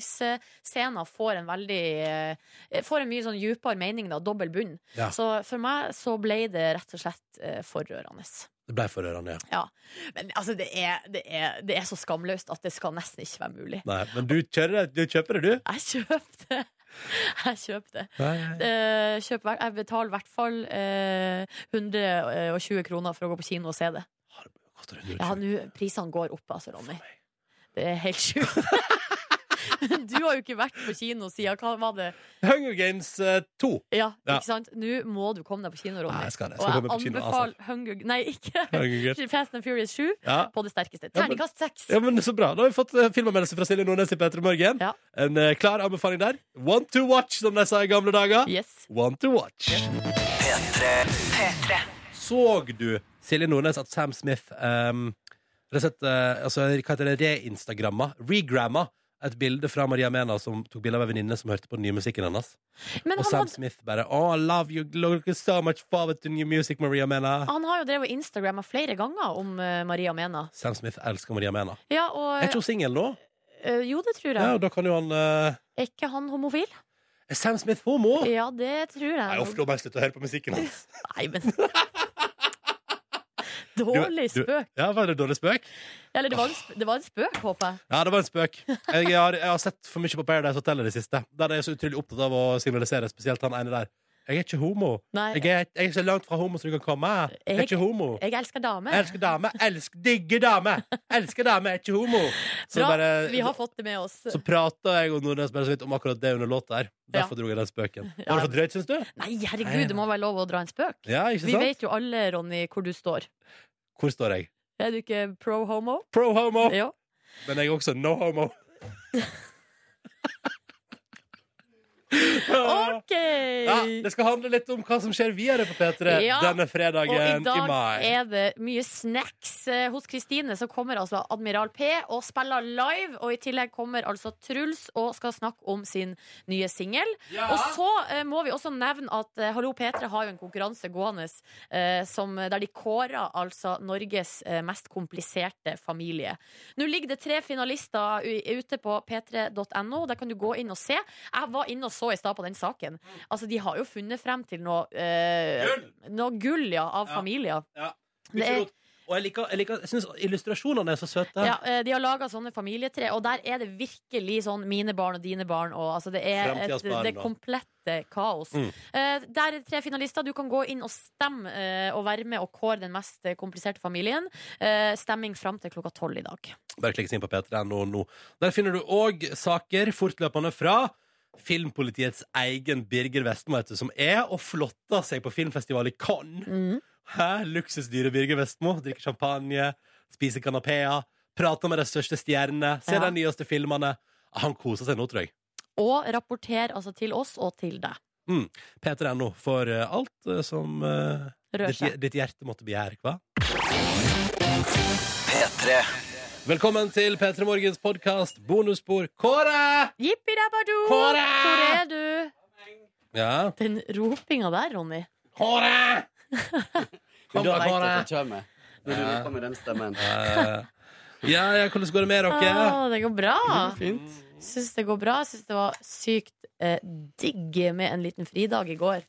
avslutningsscenen får en veldig eh, Får en mye sånn dypere mening, da. Dobbel bunn.
Ja.
Så for meg så ble det rett og slett eh, forrørende.
Det ble forrørende, ja.
Men altså, det er, det, er, det er så skamløst at det skal nesten ikke være mulig.
Nei, men du, kjører, det- du kjøper det, du?
Jeg kjøpte. Jeg kjøpte.
Nei, nei.
Eh, kjøp, hver- jeg betaler i hvert fall eh, 120 kroner for å gå på kino og se det.
Har- koster
Ja,
120.
nå Prisene går opp, altså, Ronny. Det er helt sjukt. Men du har jo ikke vært på kino siden hva var det?
Hunger Games eh, 2.
Ja,
Ja.
ikke sant? Nå må du komme deg på kino, Ronny.
Nei, jeg skal det. Jeg
Og
skal
jeg
komme på kino, altså.
anbefaler Hunger Nei, ikke
Hunger Games.
Fast and Furious 7
Ja.
på det sterkeste.
Ja, men-
Terningkast 6.
ja, men Så bra. Da har vi fått eh, filmanmeldelse fra Silje Nordnes i P3 Morgen.
Ja.
En eh, klar anbefaling der. One to watch, som de sa i gamle dager.
Yes.
One to watch. Såg du Silje Nordnes at Sam Smith um, sett, eh, altså, Hva heter det? Reinstagramma? Regramma? Et bilde fra Maria Mena som tok bilde av ei venninne som hørte på den nye musikken hennes.
Men
Og
han,
Sam
had,
Smith bare Oh, I love you, look so much forward to new music, Maria Mena.
han har jo drevet og Instagramma flere ganger om eh, Maria Mena.
Sam Smith elsker Maria Mena.
Ja,
Er
og
ikke hun singel nå?
eh, Jo, det tror
Ja,
jeg.
og da kan jo han eh,
Er ikke han homofil?
Er Sam Smith homo?
Ja, det tror
Nei, uff,
jeg.
da må jeg slutte å høre på musikken hans.
Nei, men Dårlig
Du-
spøk.
Ja, Var det en dårlig spøk?
Eller det var en, sp det var en spøk, håper jeg.
Ja, det var en spøk. Jeg har, jeg har sett for mye på Paradise Hotel i det siste. Der er jeg så utrolig opptatt av å signalisere spesielt han ene der. Jeg er ikke homo.
Nei.
Jeg er, jeg er så langt fra homo som du kan komme. Jeg er
Jeg-
ikke homo.
Jeg elsker damer.
Jeg elsker damer. Elsker, digger damer. Elsker damer. Jeg er ikke homo. Så,
Bra,
bare,
vi har fått det med oss.
så prata jeg og Nordnes bare så vidt om akkurat det under låta her. Derfor dro jeg den spøken. Var det for drøyt, syns du?
Nei, herregud, det må være lov å dra en spøk.
Ja, ikke
Vi
sant?
vet jo alle, Ronny, hvor du står.
Hvor står jeg?
Er du ikke pro homo?
Pro homo!
Ja.
Men jeg er også no homo.
OK!
Ja, det skal handle litt om hva som skjer videre på P3
Ja,
denne fredagen
Og i dag
mai.
er det mye snacks eh, hos Kristine, som kommer altså Admiral P og spiller live. Og i tillegg kommer altså Truls og skal snakke om sin nye singel. Og så eh, må vi også nevne at eh, Hallo P3 har jo en konkurranse gående eh, som, der de kårer altså Norges eh, mest kompliserte familie. Nå ligger det tre finalister u- ute på p3.no. Der kan du gå inn og se. Jeg var inne og så i stad på den saken. Altså, de har jo funnet frem til noe eh,
Gull!
Noe gull, ja, av
Ja.
familier.
Ja. Mye
Det er-
rot. Og jeg liker, jeg liker jeg synes illustrasjonene er så søte.
Ja, eh, de har laga sånne familietre, og der er det virkelig sånn mine barn og dine barn. Og, altså, det er
Fremtidens
et,
barn,
det
da.
komplette kaos.
Mm.
Eh, der er tre finalister. Du kan gå inn og stemme eh, og være med og kåre den mest eh, kompliserte familien. Eh, stemming fram til klokka tolv i dag.
Bare klikkes inn på p3.no nå. Der finner du òg saker fortløpende fra Filmpolitiets egen Birger Vestmo, vet du, som er og flotter seg på filmfestival i Cannes.
Mm.
Hæ? Luksusdyre Birger Vestmo. Drikker champagne, spiser kanapeer, prater med de største stjernene, ser
Ja.
de nyeste filmene. Ah, Han koser seg nå, tror jeg.
Og rapporter altså til oss og til deg.
p3.no for eh, alt eh, som eh,
Rør
ditt,
seg.
ditt hjerte måtte begjære, hva?
P3
Velkommen til P3 Morgens podkast, bonusspor Kåre!
Jippi rabadu! Hvor
Kåre!
er du?
Ja.
Den ropinga der, Ronny.
Kåre!
Men da
Kom,
vet du
Kåre.
at det kommer. Når du roper med den stemmen.
Eh, ja, ja, hvordan går det med dere?
Å, det går bra.
Fint.
Syns det går bra. Syns det var sykt eh, digg med en liten fridag i går.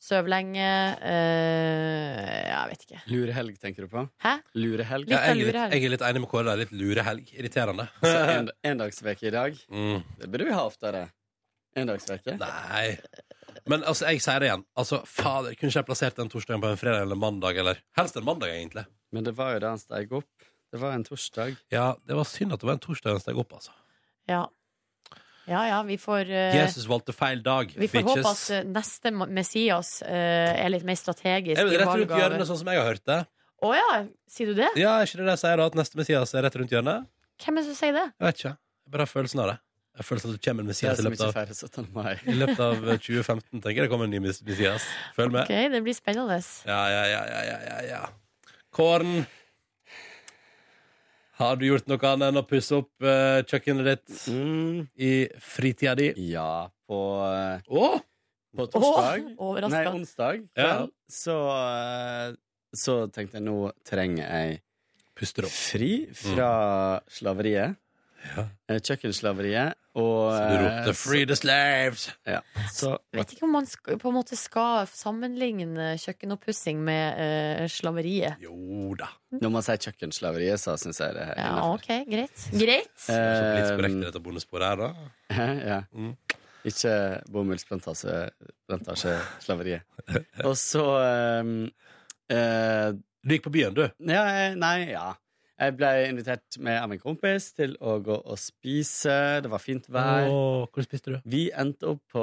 Søv lenge eh, Jeg vet ikke.
Lurehelg, tenker du på?
Hæ?
Lurehelg.
Litt
Ja, jeg, er
av
litt,
lure her.
jeg er litt enig med Kåre. Det er litt lure helg. Irriterende.
Så en, endagsveke i dag.
Mm,
Det burde vi ha oftere. Endagsveke.
nei. Men altså, jeg sier det igjen. Altså, Fader, kunne ikke jeg plassert den torsdagen på en fredag eller mandag? Eller helst en mandag, egentlig.
Men det var jo da han steg opp. Det var en torsdag.
Ja, Det var synd at det var en torsdag den steg opp, altså.
Ja. ja ja, vi får eh,
Jesus valgte feil dag,
Vi får håpe at eh, neste ma- Messias eh, er litt mer strategisk
Jeg vet,
i
rett
valg
rundt
av
hjørnet, sånn som jeg har hørt det.
Å ja, sier du det?
Ja, er ikke det det jeg sier da, at neste Messias er rett rundt hjørnet?
Hvem er det som sier det?
Jeg vet ikke. Jeg bare har følelsen av det. Jeg har følelsen av at det kommer en
Det er
Messias i
som
løpet
ikke
av,
feirer 17. mai.
i løpet av 2015. Tenker jeg det kommer en ny Mess- Messias. Følg med.
Ok, Det blir spennende.
Ja, ja, ja, ja, ja, ja, ja. Kåren Har du gjort noe annet enn å pusse opp eh, kjøkkenet ditt
Mm.
i fritida di?
Ja, på, eh,
Å!
på
Å,
torsdag Nei,
overraska.
onsdag
Ja.
kveld, så, eh, så tenkte jeg nå trenger jeg
Puster opp.
fri fra slaveriet.
Mm. Ja.
Eh, Kjøkkenslaveriet. Og
Så du ropte
eh,
'free the slaves'!
så,
Vet ikke om man sk på en måte skal sammenligne kjøkkenoppussing med eh, slaveriet.
Jo da.
Når man sier kjøkkenslaveriet, så syns jeg det er
Ja,
innenfor.
ok, greit. Greit?
Det er ikke politisk korrekt i
Eh,
dette bonussporet her, da.
ja.
Mm.
Ikke bomullsplantasjeslaveriet. Og så eh, eh,
Du gikk på byen, du.
ja, eh, Nei, ja. Jeg ble invitert med av min kompis til å gå og spise. Det var fint vær.
Å, hvor spiste du?
Vi endte opp på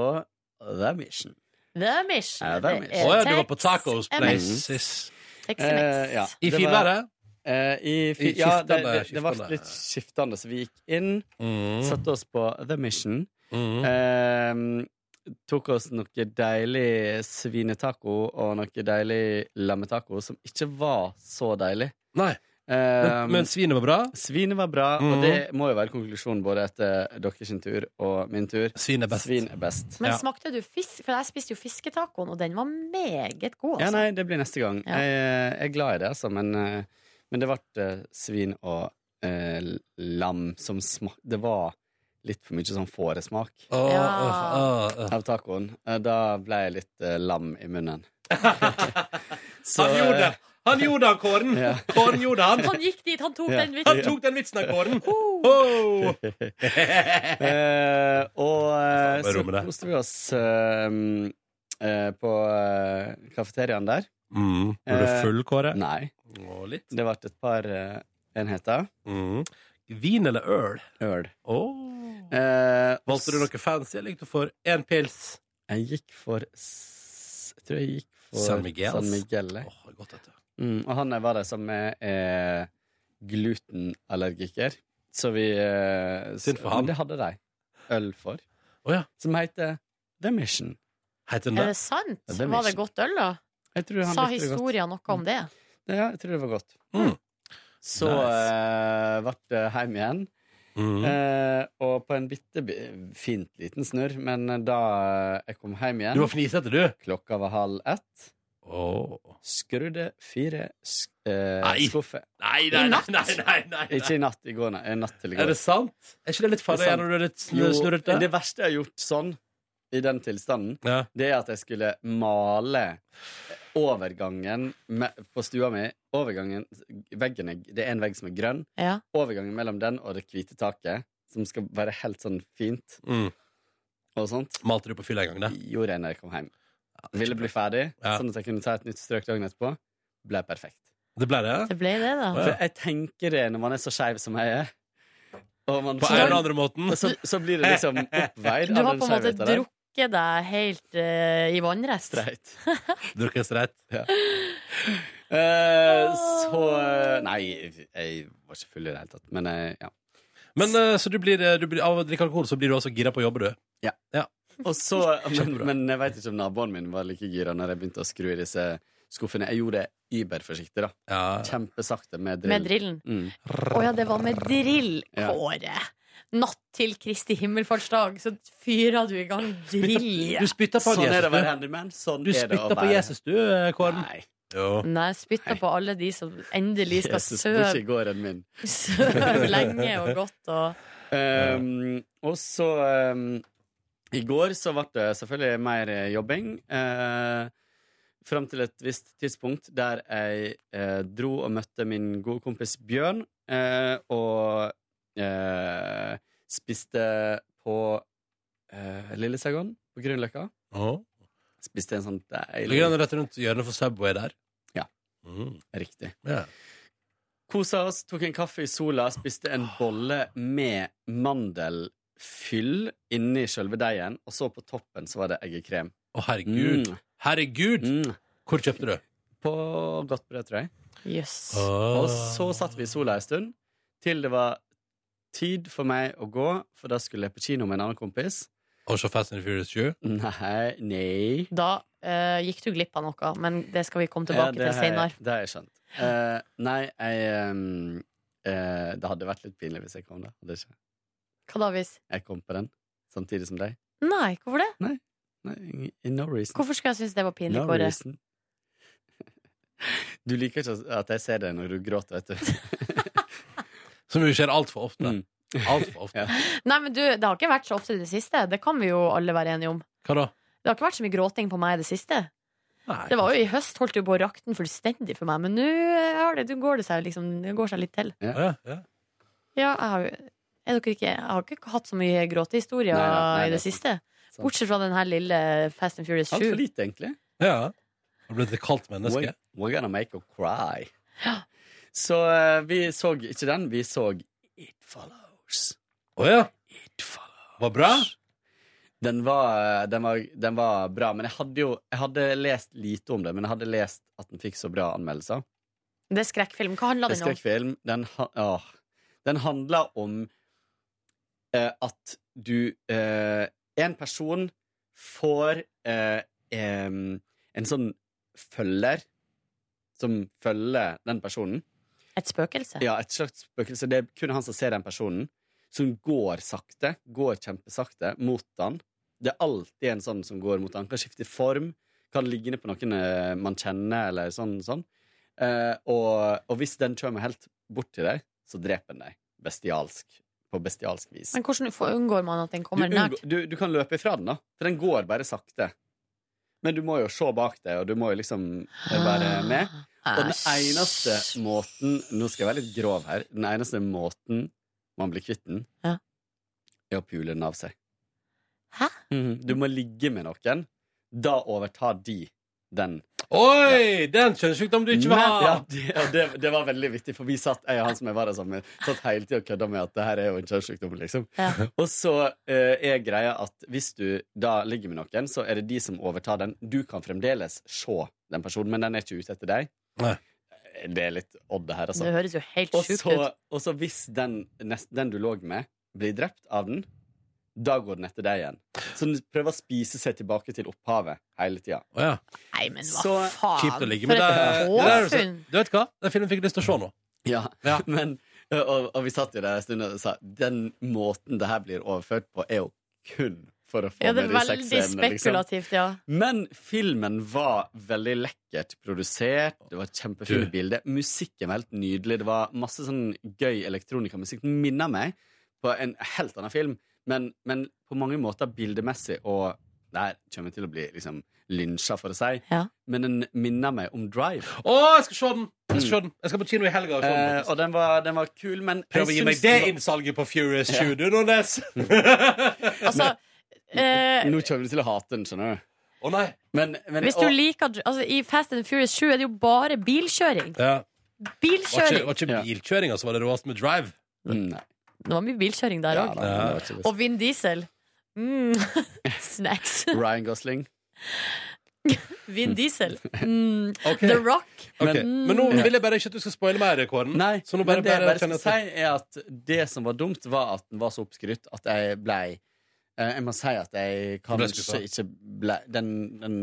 The Mission.
The Mission.
Ja, The
Å
Mission.
ja, du var på Tacos
MX.
Places.
Eh, ja.
I
Det var-
finværet?
Eh, i fi
I
ja, det,
skiftende-
det, det var
skiftende.
litt skiftende, så vi gikk inn, satte oss på The Mission.
Mm.
Eh, tok oss noe deilig svinetaco og noe deilig lammetaco som ikke var så deilig.
Nei.
Eh,
Men, men svinet var bra?
svinet var bra,
Mhm.
og det må jo være konklusjonen både etter deres tur og min tur.
Svin er best.
Svin er best.
Men
Ja.
smakte du fisk? For jeg spiste jo fisketacoen, og den var meget god.
Ja,
Altså.
nei, det blir neste gang.
Ja.
Jeg, jeg er glad i det, altså, men, eh, men det ble eh, svin og eh, lam som smak... Det var litt for mye sånn fåresmak
Å,
Ja.
å, å, å.
av tacoen. Eh, Da ble jeg litt eh, lam i munnen. Så, eh,
Han gjorde det! Han gjorde det, Kåren!
Ja.
Kåren gjorde han!
Han gikk dit, han tok
Ja.
den
Han
vitsen.
tok den vitsen av Kåren! Oh!
Eh, og eh,
Jeg får bare
så
romme det.
koste vi oss eh, mm, eh, på eh, kafeteriaen der.
Mm. Var du
Eh,
full, Kåre?
Nei,
Å, litt.
det ble et par eh, enheter.
Mm. Vin eller øl?
Øl.
Å.
Eh,
Valgte du noe fancy, eller gikk du for én pils?
Jeg gikk for s- Jeg tror jeg gikk for
San Miguel, altså. ass.
San Miguel, jeg.
Åh, godt, vet du.
mm, Og han jeg var der som er eh, glutenallergiker. Så vi eh, s-
Synd for han.
Men det hadde de øl for.
Å ja.
Som heter The Mission.
Heter den
Er
det?
det sant?
Ja, The
Var det
Mission.
godt øl, da?
Jeg tror han
Sa
likte det godt.
historien noe om det?
Ja, jeg tror det var godt.
Mm.
Så
Nice.
eh, ble det hjem igjen.
Mm.
Eh, og på en bitte bi- fint liten snurr, men da eh, jeg kom hjem igjen
Du var fnisete, du.
Klokka var halv ett.
Åh.
Skrudde fire sk eh,
Nei.
skuffer.
Nei, nei, nei, nei, nei, nei, nei.
Ikke i natt i går, nei. Natt til i
Er
går.
det sant? Er ikke det litt farlig
Det er sant.
når du er litt
Jo,
snu- snurrete?
det verste jeg har gjort sånn, i den tilstanden,
Ja.
det er at jeg skulle male overgangen me- på stua mi overgangen, veggen er, Det er en vegg som er grønn.
Ja.
Overgangen mellom den og det hvite taket, som skal være helt sånn fint
Mm.
og sånt.
Malte du på fylla en gang, det?
Gjorde jeg når jeg kom hjem. Ville bli ferdig,
Ja.
sånn at jeg kunne ta et nytt strøk dagen etterpå. Ble perfekt.
Det ble det?
Det ble det, da.
For jeg tenker det når man er så skeiv som jeg er. og man-
På en eller andre måten.
Så, så blir det liksom oppveid
Du
av
har
den
på en måte
skjevheten der.
drukket deg helt eh, i vannrest.
Streit.
Drukket streit.
Ja. Eh, så Nei, jeg var ikke full i det hele tatt, men eh, ja.
Men eh, så du blir, eh, du blir, av å drikke alkohol så blir du også gira på å jobbe, du?
Ja. Og så, men, men jeg veit ikke om naboen min var like gira når jeg begynte å skru i disse skuffene. Jeg gjorde det überforsiktig, da. Kjempesakte med drill.
Med drillen.
Mm.
Å ja, det var med drill,
Ja.
Kåre. Natt til Kristi himmelfartsdag, så fyra du i gang drill.
Du spytta på
Sånn
Jesus,
er det å være
du.
handyman. Sånn
Du
er det å
spytta på
være-
Jesus, du, eh, Kåren.
Nei. Mm.
Jo.
Nei, spytta på alle de som endelig skal
Jesus bor ikke
søve
i gården min.
søv lenge og godt og
Um, og så um, I går så ble det selvfølgelig mer eh, jobbing. Uh, Fram til et visst tidspunkt der jeg eh, dro og møtte min gode kompis Bjørn. eh, og eh, spiste på uh, Lille Saigon, på Grünerløkka.
Åh.
Spiste en sånn deilig
Ligger den rett rundt hjørnet for Subway der?
Ja.
Mm.
Riktig.
Ja.
Kosa oss, tok en kaffe i sola, spiste en bolle med mandelfyll inni sjølve deigen, og så på toppen så var det eggekrem.
Å, herregud.
Mm.
Herregud!
Mm.
Hvor kjøpte du?
På godt brød, tror jeg.
Jøss.
Og så satt vi i sola en stund, til det var tid for meg å gå, for da skulle jeg på kino med en annen kompis.
Og så Fast and Furious 7?
Nei, nei.
Da eh, gikk du glipp av noe, men det skal vi komme tilbake
Ja, det
til
har jeg-
seinere.
Det har jeg skjønt. Eh, nei, jeg ehm, eh, Det hadde vært litt pinlig hvis jeg kom, da. Hadde det ikke?
Hva da, hvis?
Jeg kom på den samtidig som deg.
Nei, hvorfor det?
Nei, ing- no reason.
Hvorfor skulle jeg synes det var pinlig,
No
Kåre?
reason. Du liker ikke at jeg ser deg når du gråter, vet du.
Som jo skjer altfor ofte.
Mm.
Altfor ofte.
Nei, men du, det har ikke vært så ofte i det siste. Det kan vi jo alle være enige om.
Hva da?
Det har ikke vært så mye gråting på meg i det siste.
Nei.
Det var jo I høst holdt det jo på å rakne fullstendig for meg, men nå eh, har det, nå går det seg liksom, det går seg litt til.
ja, ja.
Ja, jeg har, jo- er dere ikke, jeg har ikke hatt så mye gråtehistorier
Nei, nei,
i
nei,
det
det er
siste.
sant.
Bortsett fra den her lille Fast and Furious
Altfor
7.
lite, egentlig.
ja. Du ble et kaldt menneske.
We're, we're gonna make her cry. Så eh, vi så ikke den. Vi så It Follows.
Å ja.
It Follows.
Var bra?
Den var, eh, den, var, den var bra, men jeg hadde jo Jeg hadde lest lite om det, men jeg hadde lest at den fikk så bra anmeldelser.
Det er skrekkfilm. Hva handler
En
den om?
skrekkfilm. Den, ha- åh. den handler om eh, at du eh, En person får eh, em, en sånn følger som følger den personen.
Et spøkelse?
Ja, et slags spøkelse. Det er kun han som ser den personen, som går sakte, går kjempesakte mot han. Det er alltid en sånn som går mot han. Kan skifte form, kan ligge ned på noen eh, man kjenner, eller sånn. sånn. Eh, og, og hvis den kommer helt bort til deg, så dreper den deg bestialsk. På bestialsk vis.
Men hvordan får- unngår man at den
Du,
kommer nært?
unngår- du, du kan løpe ifra den, da. For den går bare sakte. Men du må jo se bak deg, og du må jo liksom eh, være
Ah.
med. Og den
Æsj.
eneste måten Nå skal jeg være litt grov her. Den eneste måten man blir kvitt den,
Ja.
er å pule den av seg.
Hæ?
Mhm. Du må ligge med noen. Da overtar de den.
Oi! Den kjønnssykdom du ikke vil
Men-
ha!
ja, det, og det, det var veldig vittig, for vi satt, jeg og han som jeg var der sammen med, satt hele tida og kødda med at det her er jo en kjønnssykdom, liksom.
Ja.
Og så eh, er greia at hvis du da ligger med noen, så er det de som overtar den. Du kan fremdeles se den personen, men den er ikke ute etter deg.
Nei.
Det er litt odd, det her, altså.
Det høres jo helt
Og
sjukt ut.
så, og så hvis den, nest, den du lå med, blir drept av den, da går den etter deg igjen. Så den prøver å spise seg tilbake til opphavet hele tida.
Å ja.
Nei, men hva
så
faen?
Kjipt å ligge
For
med det.
et
det der, er jo
hårfunn!
så- du vet hva? Den filmen fikk jeg lyst til å se nå.
Ja.
Ja.
Men, og, og vi satt jo der en stund og sa den måten det her blir overført på, er jo kun for å få
Ja, det
med
er
de
veldig
sexscenene. Liksom.
spekulativt, ja.
Men filmen var veldig lekkert produsert. Det var et kjempefint
Du.
bilde. Musikken var helt nydelig. Det var masse sånn gøy elektronikamusikk. Den minner meg på en helt annen film, men, men på mange måter bildemessig og Der kommer jeg til å bli liksom lynsja, for å si. Men den minner meg om Drive.
Å, jeg skal se den! Jeg skal, se den. Jeg skal på kino i helga. og se den,
Eh,
sånn, faktisk.
og den var, den var kul, men
Prøv å gi
jeg
meg
syns
det
den var-
innsalget på Furious
Ja.
7, du, Nordnes!
Altså, eh,
Nå kommer du til å hate den, skjønner du.
Å nei
Men, men,
hvis du
og-
liker altså, I Fast and Furious 7 er det jo bare bilkjøring.
Ja. Var ikke,
Bilkjøring!
var ikke bilkjøringa som var det råeste med Drive?
Mm, Nei.
Det var mye bilkjøring der òg.
Ja.
Og Vin Diesel. Mm. Snacks.
Ryan Gosling.
Vin Diesel. Mm.
Ok.
The Rock.
Ok,
Mm.
Men nå vil jeg bare ikke at du skal spoile mer, Kåren.
Nei,
Så nå
men
bare,
det jeg
bare
bare
kjenner
skal
jeg
si, er at det som var dumt, var at den var så oppskrytt at jeg blei eh, Jeg må si at jeg
Ble
kanskje
skuffa.
ikke blei Den, den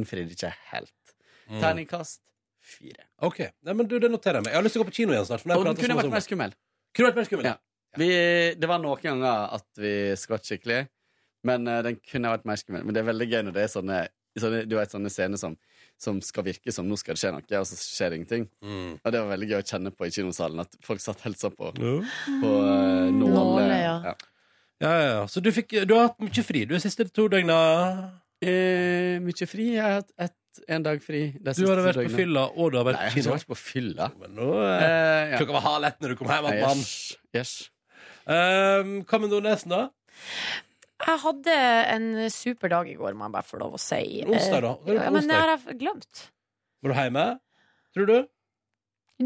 innfridde ikke helt.
Mm.
Terningkast fire.
Ok, Nei, men du, det noterer jeg meg. Jeg har lyst til å gå på kino igjen snart. For nå har
Og den
jeg pratet
kunne
så
vært
mye om
mer
det.
skummel.
Kunne vært mer skummel.
Ja. Vi, det var noen ganger at vi skvatt skikkelig, men eh, den kunne vært mer skummel. Men det er veldig gøy når det er sånne, sånne, du vet, sånne scener som, som skal virke som nå skal det skje noe, og så skjer det ingenting.
Mm.
Og det var veldig gøy å kjenne på i kinosalen at folk satt helt sånn på, på
Ja.
eh, nåle.
Nåle, ja.
Ja, ja, ja. Så du, fikk, du har hatt mye fri du de siste to døgna.
Eh, mye fri. Jeg har hatt ett, en dag fri. de
Du
siste
har vært på
døgnene.
fylla, og du har vært
Nei,
på
jeg
kino.
har ikke vært på fylla.
Men nå, eh,
Eh, ja.
Klokka var halv ett når du kom hjem.
Nei,
mann.
yes, yes.
Um, hva med Nordnesen, da?
Jeg hadde en super dag i går, må jeg bare få lov å si. Eh,
Onsdag, da? Hva er det på
Ja, men det
onsdag?
har jeg glemt.
Var du hjemme? Tror du?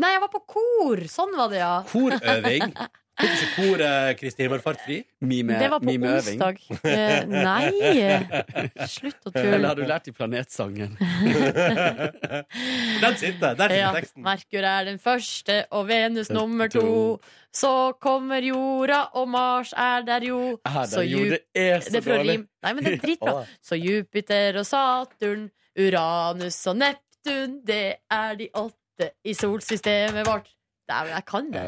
Nei, jeg var på kor! Sånn var det, ja.
Korøving. Tok ikke kor eh, Kristi Himmelfart fri?
Mime,
Det var på
mimeøving.
onsdag. Eh, nei! Slutt å
Eller
tulle.
har du lært i Planetsangen?
Den sitter! Der sitter
Ja,
teksten.
Merkur er den første, og Venus nummer to. Så kommer jorda, og Mars er der jo.
Ah, det,
Så
jo,
Ju-
det er så
Det er fra
dårlig.
rim. Nei, men det er dritbra.
Åh.
Så Jupiter og Saturn, Uranus og Neptun, det er de åtte i solsystemet vårt. Dæven, jeg kan det.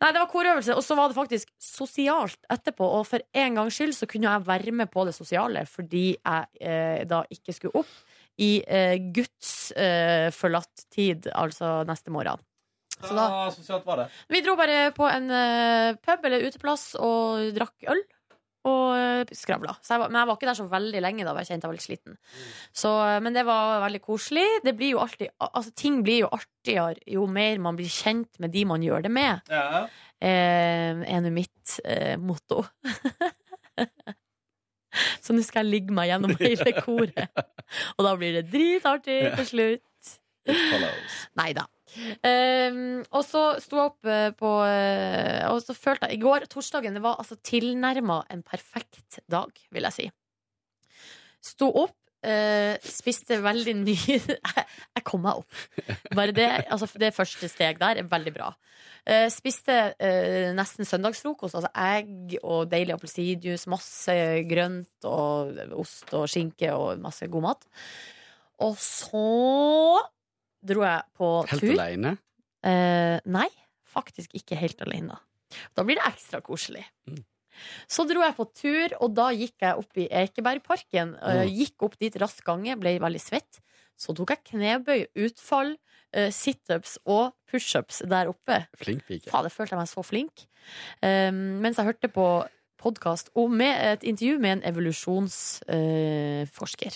Nei, det var korøvelse, og så var det faktisk sosialt etterpå. Og for en gangs skyld så kunne jeg være med på det sosiale, fordi jeg eh, da ikke skulle opp i eh, Guds eh, forlatt tid, altså neste morgen. Så da
Ah, så søt var det.
Vi dro bare på en eh, pub eller uteplass og drakk øl. Og eh, skravla. Så jeg var, men jeg var ikke der så veldig lenge, da, for jeg kjente jeg var litt sliten. Så, eh, men det var veldig koselig. Det blir jo alltid, al- altså, ting blir jo artigere jo mer man blir kjent med de man gjør det med
Ja.
eh, er nå mitt eh, motto. Så nå skal jeg ligge meg gjennom hele koret. Og da blir det dritartig til slutt. Nei da. Ehm, og så sto jeg opp eh, på eh, Og så følte jeg I går, torsdagen, det var altså tilnærma en perfekt dag, vil jeg si. Sto opp, eh, spiste veldig mye jeg, jeg kom meg opp. Bare det, altså det første steg der er veldig bra. Eh, spiste eh, nesten søndagsfrokost. Altså egg og deilig appelsinjuice, masse grønt og ost og skinke og masse god mat. Og så dro jeg på
Helt
tur.
aleine.
Eh, nei, faktisk ikke helt alene. Da blir det ekstra koselig. Så dro jeg på tur, og da gikk jeg opp i Ekebergparken. eh, Gikk opp dit rask gange, ble veldig svett. Så tok jeg knebøy, utfall, eh, situps og pushups der oppe.
Flink pike.
Fader, følte jeg meg så flink. Um, mens jeg hørte på podkast med et intervju med en evolusjonsforsker.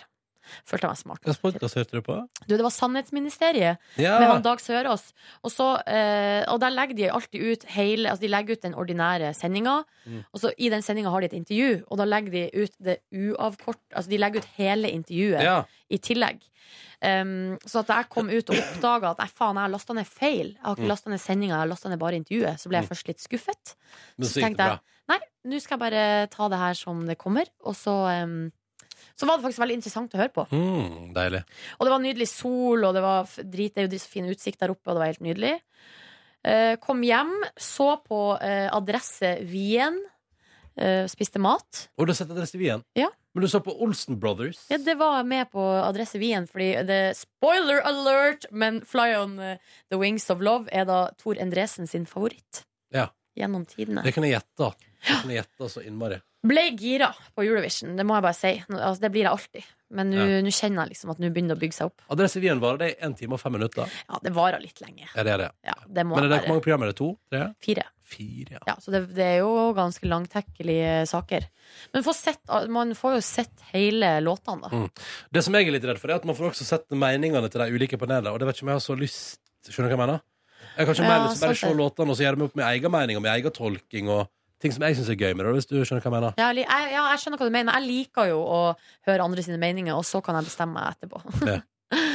følte jeg meg
Hvilken
smart.
podkast hørte du på?
Du, det var Sannhetsministeriet
Ja.
med han Dag Sørås. Og, så, eh, og der legger de alltid ut hele Altså de legger ut den ordinære sendinga,
Mm.
og så i den sendinga har de et intervju, og da legger de ut det uavkort Altså de legger ut hele intervjuet
ja.
i tillegg. Um, så at jeg kom ut og oppdaga at nei, faen, jeg har lasta ned feil. Jeg har
Mm.
ikke lasta ned sendinga, jeg har lasta ned bare intervjuet. Så ble
Mm.
jeg først litt skuffet.
Men
Så
så gikk det
tenkte
bra.
jeg nei, nå skal jeg bare ta det her som det kommer. Og så um, så var det faktisk veldig interessant å høre på.
Mm, deilig.
Og det var nydelig sol, og det var f- drit, det er jo så fin utsikt der oppe, og det var helt nydelig. Eh, kom hjem, så på eh, adresse Wien. eh, spiste mat.
Og du har sett Adresse Wien?
Ja.
Men du så på Olsen Brothers?
Ja, det var med på adresse Wien, fordi det Spoiler alert! Men Fly on eh, the Wings of Love er da Tor Endresen sin favoritt.
Ja.
Gjennom tidene.
Det kan jeg gjette. Det kan jeg gjette så innmari.
Ble gira på Eurovision, det må jeg bare si. Nå- Altså, det blir jeg alltid. Men nå nå kjenner jeg liksom at nå begynner det å bygge seg opp.
Adresse Wien varer det i en time og fem minutter.
Ja, det varer litt lenge.
Ja, det er det.
Ja, det må
Men er det
jeg
hvor mange programmer er det? To? Tre?
være. Fire.
Fire, ja.
Ja, så det, det er jo ganske langtekkelige saker. Men få sett, man får jo sett hele låtene, da.
Mm. Det som jeg er litt redd for, er at man får også sett meningene til de ulike panelene. Og det vet ikke om jeg har så lyst Skjønner du hva jeg mener? Jeg kan ikke
Ja,
mer lyst til bare
sant
se
det.
låtene og så gjøre meg opp min egen mening og min egen tolking og ting som jeg syns er gøy med det, hvis du skjønner hva jeg mener.
Ja, jeg, li- jeg- ja, jeg skjønner hva du mener. Jeg liker jo å høre andre sine meninger, og så kan jeg bestemme meg etterpå.
Ja.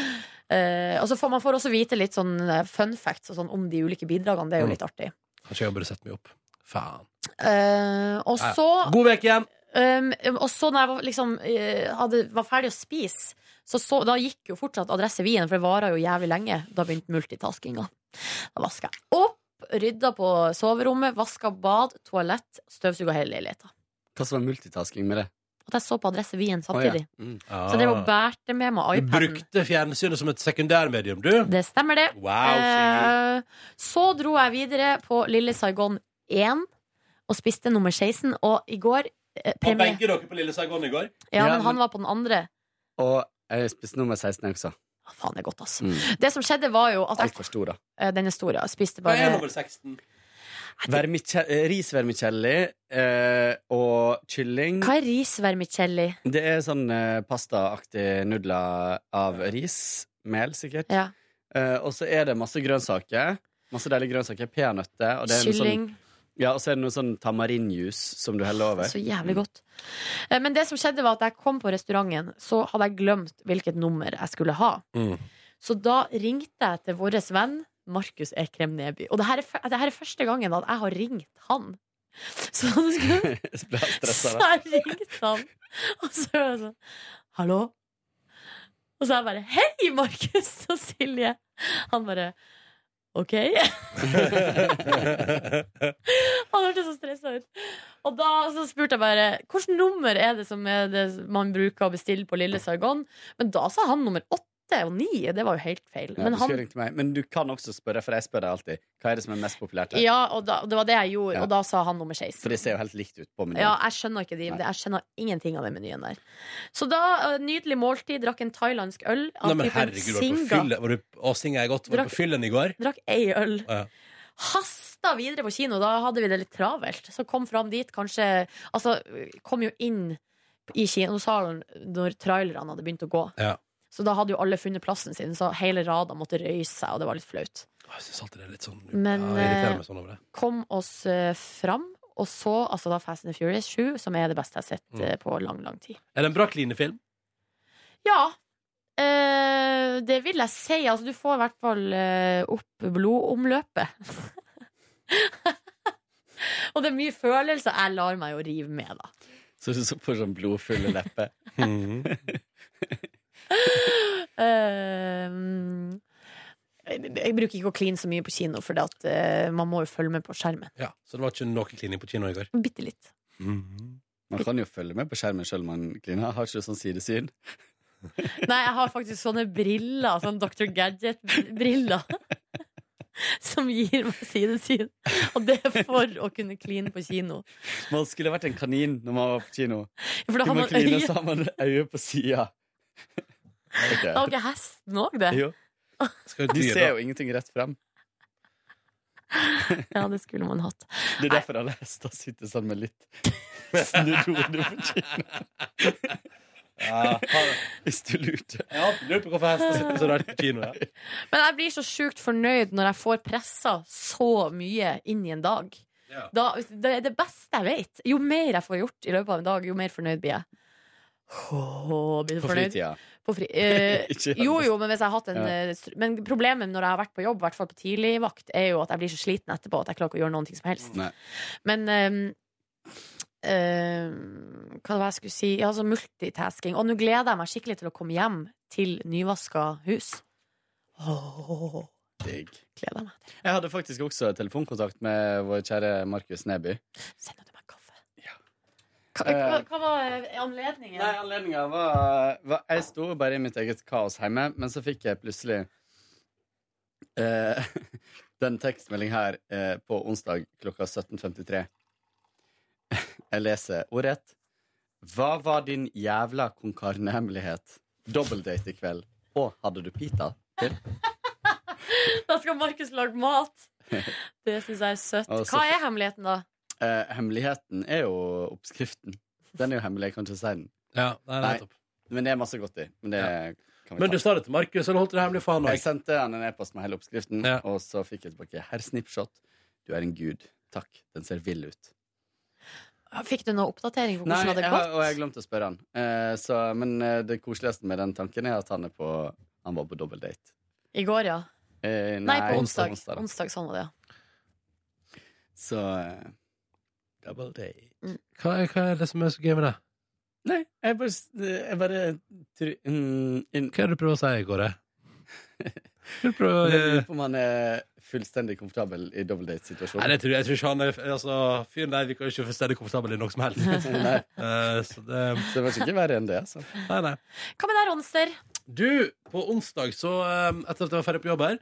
Eh, og så får Man får også vite litt sånn eh, fun facts og sånn om de ulike bidragene. Det er jo
Mm.
litt artig.
Kanskje jeg burde sette meg opp. Faen.
Eh, og
Ja, ja.
så
God uke igjen!
Um, og så når jeg var, liksom, eh, hadde, var ferdig å spise, så, så da gikk jo fortsatt Adresse Wien, for det varer jo jævlig lenge. Da begynte multitaskinga. Da vaska jeg opp, rydda på soverommet, vaska bad, toalett, støvsuga hele leiligheta.
Hva som er multitasking med det?
At jeg så på Adresse Wien
Å,
samtidig.
ja. Mm.
Så jeg drev og bærte med meg
Ah. Du
iPaden.
brukte fjernsynet som et sekundærmedium, du?
Det stemmer, det.
Wow, Sigrid.
Eh, så dro jeg videre på Lille Saigon 1 og spiste nummer 16, og i går eh,
Var
premie...
begge dere på Lille Saigon i går?
Ja,
Ja,
men han
men-
var på den andre.
Og jeg spiste nummer 16 jeg også.
Faen, det er godt, altså.
Mm.
Det som skjedde var jo at jeg
Altfor stor, da.
Eh, Den er stor, ja. Spiste
Hva er
bare
nummer 16?
Vermice eh, risvermicelli eh, og kylling.
Hva er ris vermicelli?
Det er sånn eh, pastaaktig nudler av ris. Mel, sikkert.
Ja.
Eh, og så er det masse grønnsaker. Masse deilige grønnsaker. Peanøtter. Og det er noe
Kylling.
Sånn, ja, og så er det noe sånn tamarinjuice som du heller over.
Så jævlig godt. Eh, Men det som skjedde, var at da jeg kom på restauranten, så hadde jeg glemt hvilket nummer jeg skulle ha.
Mm.
Så da ringte jeg til vår venn Markus Ekrem Neby. Og det her, er, fø- det her er første gangen at jeg har ringt han. Så han skulle
Bra
Så
stressa, da.
jeg ringte han, og så var jeg sånn Hallo? Og så er jeg bare Hei, Markus og Silje! Han bare OK. Han hørtes så stressa ut. Og da så spurte jeg bare hvilket nummer er det som er det man bruker å bestille på Lille Saigon. Men da sa han nummer åtte og ni. Det var jo helt feil.
Ja,
Men
du
han,
skulle ringt meg. Men du kan også spørre, for jeg spør deg alltid. Hva er det som er mest populært her?
ja, og da, det var det jeg gjorde,
Ja.
og da sa han nummer 16.
For det ser jo helt likt ut på menyen.
Ja, jeg skjønner ikke de,
Nei.
jeg skjønner ingenting av den menyen der. Så da, eh, nydelig måltid, drakk en thailandsk øl av
Nei, men
typen
herregud, var du på
Singa.
fylle? Var du, å, singa er godt. Var du
Drakk-
på fyllen i går?
Drakk ei øl.
Ja.
Hasta videre på kino, da hadde vi det litt travelt. Så kom fram dit, kanskje Altså, kom jo inn i kinosalen når trailerne hadde begynt å gå.
Ja.
Så da hadde jo alle funnet plassen sin, så hele rada måtte røyse seg, og det var litt flaut.
Jeg syns alltid det er litt sånn
Men,
ja, Jeg irriterer
eh,
meg sånn over det.
Kom oss eh, fram, og så altså da Fast and the Furious 7, som er det beste jeg
Mm.
har sett eh, på lang, lang tid.
Er det en bra klinefilm?
Ja. Eh, det vil jeg si. Altså, du får i hvert fall eh, opp blodomløpet. Og det er mye følelser. Jeg lar meg jo rive med, da.
Så du så på sånn blodfulle lepper.
Mhm.
Eh, jeg jeg bruker ikke å kline så mye på kino, for eh, man må jo følge med på skjermen.
Ja, Så det var ikke noe klining på kino i går?
Bitte litt.
Man kan jo følge med på skjermen sjøl om man kliner. Har ikke du sånn sidesyn?
Nei, jeg har faktisk sånne briller, sånn Dr. Gadget-briller. Som gir meg sidesyn. Og det er for å kunne kline på kino.
Man skulle vært en kanin når man var på kino.
For da
Du
har
må
man
kline,
øye
så har man øye på sida.
Da har ikke hesten òg det.
Jo.
Skal jo
Du
dyr,
ser
da.
jo ingenting rett fram.
Ja, det skulle man hatt.
Det er derfor alle hester sitter sånn med litt snudd hode på kino.
Ja, har-
Hvis du lurte.
jeg har alltid lurt på hvorfor hester sitter så rart på kino. Ja.
Men jeg blir så sjukt fornøyd når jeg får pressa så mye inn i en dag.
Ja.
Da, det er det beste jeg vet. Jo mer jeg får gjort i løpet av en dag, jo mer fornøyd blir jeg. Åh, blir du
På
fornøyd?
fritida.
På fri, eh,
Ikke
jo, jo, men hvis jeg har hatt en
Ja.
eh, str- Men problemet når jeg har vært på jobb, i hvert fall på tidligvakt, er jo at jeg blir så sliten etterpå at jeg klarer ikke å gjøre noen ting som helst.
Nei.
Men ehm, ehm, Hva var det jeg skulle si? Ja, altså multitasking. Og nå gleder jeg meg skikkelig til å komme hjem til nyvaska hus. Åh,
Digg.
gleder jeg meg til.
Jeg hadde faktisk også telefonkontakt med vår kjære Markus Neby.
Send henne meg kaffe. Hva, hva,
Eh.
hva var eh, anledningen?
Nei, anledninga var, var Jeg sto bare i mitt eget kaos hjemme, men så fikk jeg plutselig eh, den tekstmelding her eh, på onsdag klokka 17.53. Jeg leser ordrett. Hva var din jævla konkarnehemmelighet? Dobbeldate i kveld. Og hadde du pita til?
Da skal Markus lage mat. Det syns jeg er søtt.
Og så-
Hva er hemmeligheten, da?
Eh, hemmeligheten er jo oppskriften. Den er jo hemmelig, jeg kan ikke si den.
nei, nettopp.
men det er masse godt i. Men det kan vi
Men
ta.
du sa det til Markus, eller holdt du det hemmelig for han
Jeg
òg?
sendte han en e-post med hele oppskriften, og så fikk jeg tilbake herr Snipshot. Du er en gud. Takk. Den ser vill ut.
Fikk du noen oppdatering på
Nei,
hvordan det
jeg
hadde
har, og jeg
gått?
glemte å spørre han. Eh, så, men eh, det koseligste med den tanken er at han, er på, han var på dobbeltdate.
I går, ja.
Eh,
Nei, på onsdag.
da.
Onsdag, sånn var det, ja.
Så eh, double date.
Hva, er- hva er det som er så gøy med det?
Nei, jeg bare, jeg bare tru- mm, inn-
Hva er det du prøver å si, Kåre? Skal du prøve å-
Jeg lurer på om han er fullstendig komfortabel i
Nei,
dobbeltdatesituasjonen.
det tror jeg, jeg tror ikke han er altså, Fyren der virker jo ikke fullstendig komfortabel i noe som helst.
Nei.
Eh, så det
Så det var ikke verre enn det, altså.
Nei, nei.
Hva med deg, Ronster?
Du, på onsdag, så eh, etter at jeg var ferdig på jobb her,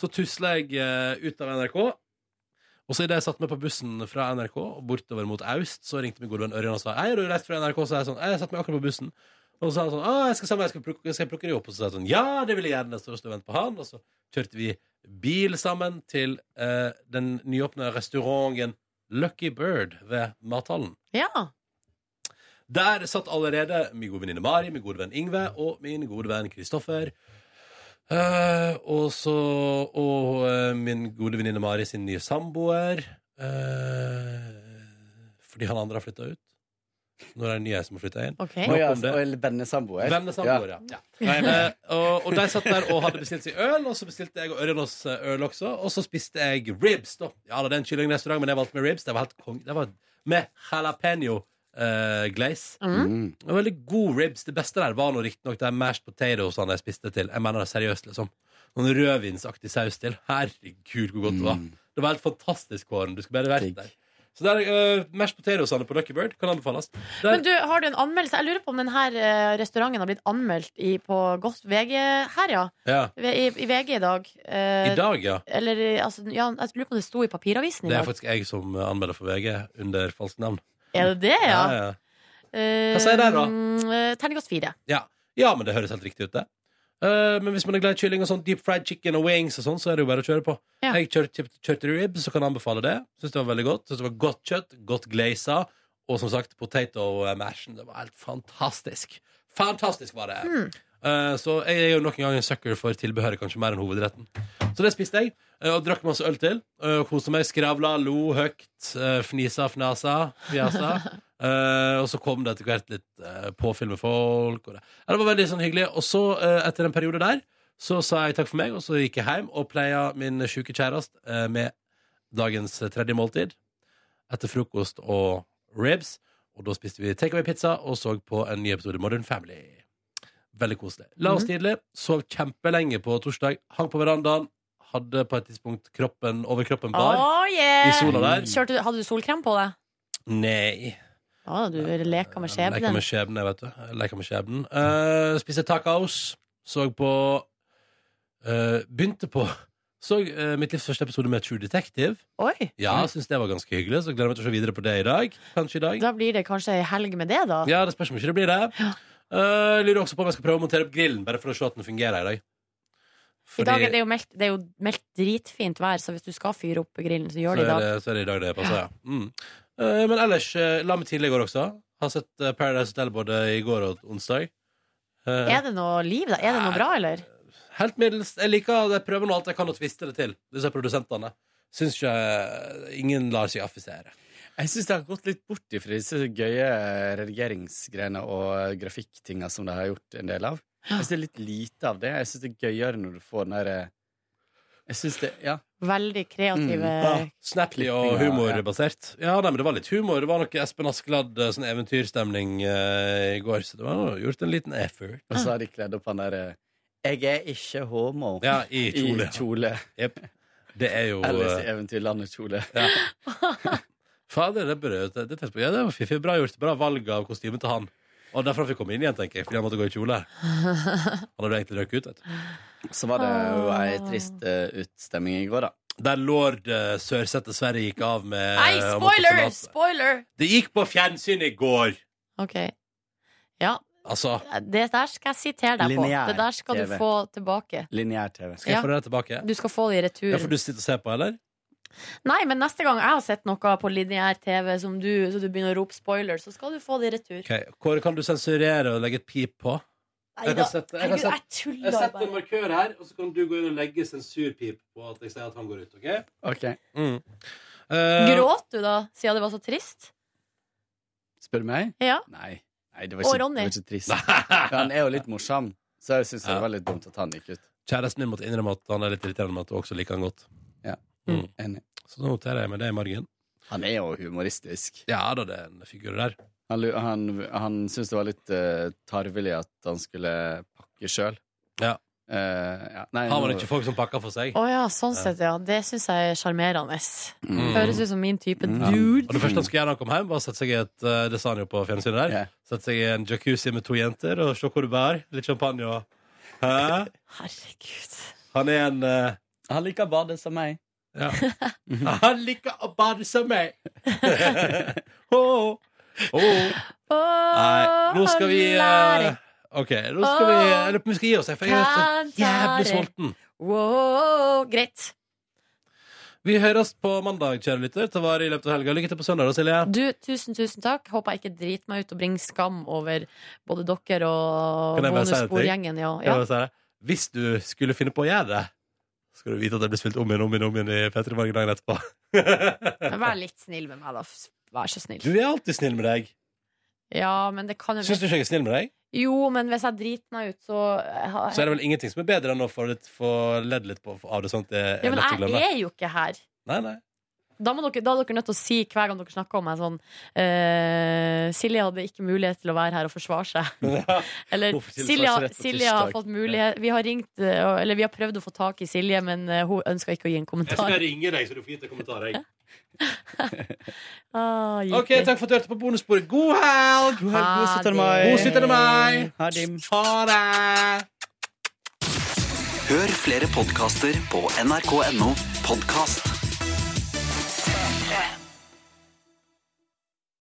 så tusla jeg eh, ut av NRK. Og så idet jeg satte meg på bussen fra NRK og bortover mot Aust, så ringte min gode venn Ørjan og sa Hei, har du reist fra NRK? Så jeg sånn, «Nei, jeg satte meg akkurat på bussen. Og så sa han sånn Å, jeg skal, sammen, jeg skal, plukke, skal jeg plukke deg opp? Og så sa jeg sånn Ja, det vil jeg gjerne. Så sto jeg og ventet på han, og så kjørte vi bil sammen til eh, den nyåpna restauranten Lucky Bird ved mathallen.
Ja.
Der satt allerede min gode venninne Mari, min gode venn Ingve og min gode venn Kristoffer. Eh, og så Og eh, min gode venninne Mari sin nye samboer. eh, fordi han andre har flytta ut. Nå er det en ny jeg som har flytta inn.
Ok.
Og,
Nok
ja,
om det.
og en vennesamboer.
Vennesamboer, ja. ja. Eh, og, og de satt der og hadde bestilt seg øl, og så bestilte jeg og Ørjan oss eh, øl også. Og så spiste jeg ribs, da. Ja, det er en kyllingrestaurant, men jeg valgte med ribs. Det var helt kong... Det var med jalapeño eh, glaze.
Mm.
Det var veldig god ribs. Det beste der var nå riktignok de mashed potatoesene jeg spiste til. Jeg mener det seriøst, liksom. Noen rødvinsaktig saus til. Herregud, hvor godt det var. Det var helt fantastisk, Kåren. Du skulle bare vært der. Så der, uh, mashed potatoesene på Lucky Bird kan anbefales. Der,
Men du, har du en anmeldelse? Jeg lurer på om denne restauranten har blitt anmeldt i, på godt VG her, ja.
ja.
I, I VG i dag. Eh,
I dag, ja.
Eller, altså, ja, jeg lurer på om det sto i papiravisen i
Det er
dag.
faktisk jeg som anmelder for VG under falskt navn.
Er det det, ja?
Ja, ja.
Eh,
Hva sier det da?
eh, Terningkast fire.
Ja. ja, men det høres helt riktig ut, det. Eh, men hvis man er glad i kylling og sånn deep fried chicken og wings og sånn, så er det jo bare å kjøre på.
Ja.
Jeg kjørte kjøpt- kjørte ribs, så kan jeg anbefale det. Syns det var veldig godt. Synes det var godt kjøtt, godt glaza, og som sagt, potato eh, mashen. Det var helt fantastisk. Fantastisk var det. Eh, så jeg er jo nok en gang en sucker for tilbehøret, kanskje mer enn hovedretten. Så det spiste jeg, eh, og drakk masse øl til. eh, og koste meg, skravla, lo høyt, eh, fnisa, fnasa, fjasa. Eh, og så kom det etter hvert litt eh, påfyll med folk. Og det. Ja, det var veldig sånn hyggelig. Og så, eh, etter en periode der, så sa jeg takk for meg, og så gikk jeg hjem og pleia min sjuke kjæreste eh, med dagens tredje måltid. Etter frokost og ribs. Og da spiste vi takeaway-pizza og så på en ny episode Modern Family. Veldig koselig. La oss tidlig. Sov kjempelenge på torsdag. Hang på verandaen. Hadde på et tidspunkt kroppen over kroppen bar.
Oh, yeah.
I sola der.
Kjørte, du- hadde du solkrem på deg?
Nei.
Ja, du leker med
Leker
skjebnen.
med skjebnen, vet du. Leker med skjebnen. Eh, spiste tacos. Så på eh, Begynte på Så eh, mitt livs første episode med True Detective.
Oi!
Ja, jeg synes det var ganske hyggelig, så gleder jeg meg til å se videre på det i dag. Kanskje i dag.
Mm. Da blir det kanskje ei helg med det, da.
Ja, det spørs om ikke det blir det. Eh, jeg lurer også på om jeg skal prøve å montere opp grillen, bare for å se at den fungerer i dag.
I dag er det, jo meldt, det er jo meldt dritfint vær, så hvis du skal fyre opp grillen, så
så
gjør det i
er
dag.
det, så er det i dag det passer, ja. Mm. Eh, men ellers, eh, la meg tidlig i går også. Har sett eh, Paradise Hotel både i går og onsdag. Eh,
Er det noe liv, da? Er det noe bra, eller?
Helt middels. Jeg liker Jeg prøver nå alt jeg kan å tviste det til. Disse produsentene. Syns ikke eh, Ingen lar seg affisere.
Jeg syns det har gått litt bort ifra disse gøye redigeringsgreiene og grafikktinga som de har gjort en del av. Jeg syns det er litt lite av det. Jeg syns det er gøyere når du får den derre Jeg syns det Ja.
Veldig kreative
Ja, snappy og
Klippinga,
humorbasert. Ja, nei, men det var litt humor. Det var noe Espen Askeladd eh, sånn eventyrstemning eh, i går, så det var gjort en liten effort.
Og så har de kledd opp han derre Jeg er ikke homo.
Ja, i kjole.
I kjole.
Jepp. Det er jo
Alice i
eh,
Eventyrlandet-kjole.
Fader, det, brød, det, det, tenkte jeg på. ja, det var fiffig. Bra gjort. Bra valg av kostyme til han. Og derfor han fikk komme inn igjen, tenker jeg, fordi han måtte gå i kjole. Han hadde egentlig røket ut, vet du.
Så var det jo ei trist eh, utstemming i går, da.
Der lord uh, Sørsete Sverre gikk av med
Nei,
eh, han måtte
spoiler!
forlate.
Spoiler!
Det gikk på fjernsyn i går!
Ok. Ja,
Altså,
det der skal jeg sitere deg på.
Lineær
Det der skal du
TV.
få tilbake.
Lineær-TV.
skal jeg
Ja.
få det tilbake?
Du skal få det i
Ja, for
retur.
du sitter og ser på, eller?
Nei, men neste gang jeg har sett noe på lineær TV som du, så du begynner å rope spoiler, så skal du få det i retur.
Ok, Kåre, kan du sensurere og legge et pip på? Jeg
da.
kan sette, jeg kan
Herregud,
sette,
jeg tuller
jeg setter
bare.
en markør her, og så kan du gå inn og legge sensurpip på at jeg sier at han går ut. ok?
Ok.
Eh,
Gråt du da, siden det var så trist?
Spør du meg?
Ja.
Nei. Nei, det var ikke,
Og Ronny.
Det var ikke trist. Men han er jo litt morsom, så jeg syns det var litt dumt at han gikk ut.
Kjæresten min måtte innrømme at han er litt irriterende, men at hun også liker han godt.
Ja,
Mm.
enig.
Så nå noterer jeg meg det i margen.
Han er jo humoristisk.
Ja da, det er en figur der.
Han, lu- han, han syntes det var litt eh, tarvelig at han skulle pakke sjøl.
Ja.
ja. Nei,
Har man
nå-
ikke folk som pakker for seg?
Å ja, sånn sett, ja. Det syns jeg er sjarmerende.
Mm.
Høres ut som min type
Ja.
dude.
Og det første han skulle gjøre når han kom hjem, var å sette seg i et eh, Det sa han jo på fjernsynet der.
Ja.
Sette seg i en jacuzzi med to jenter og se hvor det bærer. Litt champagne og Hæ?
Herregud.
Han er en eh,
Han liker å bade som meg.
Ja. Han liker å bade som meg. Åh, åh. Nei, nå skal vi eh, OK, nå skal vi Jeg lurer på om vi skal gi oss, jeg, for jeg er så jævlig sulten.
Wow, greit.
Vi høres på mandag, kjære lytter. Ta vare i løpet av helga. Lykke til på søndag, da, Silje.
Du, tusen, tusen takk. Håper jeg ikke driter meg ut og bringer skam over både dere og
Kan jeg bare si en ting?
bonusbordgjengen. Ja.
Kan
Ja.
jeg bare si det? Hvis du skulle finne på å gjøre det, skal du vite at det blir spilt om igjen om igjen, om igjen i P3 Morgen dagen etterpå.
Vær litt snill med meg, da. Vær så snill.
Du er alltid snill med deg.
Ja, men det kan jo
Syns du ikke jeg er snill med deg?
Jo, men hvis jeg driter meg ut, så eh,
Så er det vel ingenting som er bedre enn å få, litt, få ledd litt på av det. Sånn at det er
Ja, men
lett å glemme.
jeg er jo ikke her.
Nei, nei.
Da, må dere, da er dere nødt til å si hver gang dere snakker om meg sånn eh, Silje hadde ikke mulighet til å være her og forsvare seg. Eller
Hvorfor Silje
Silje,
svarte rett på
Silje har
tirsdag?
fått mulighet Vi har ringt eh, Eller vi har prøvd å få tak i Silje, men eh, hun ønska ikke å gi en
Jeg
kommentar.
skal ringe deg, så du får gitt en kommentar. Jeg.
Ah,
OK, takk for at du hørte på bonussporet. God helg!
helg, god Ha 17. mai. det.
God 17. mai.
Ha det.
Ha det!
Hør flere podkaster på nrk.no podkast.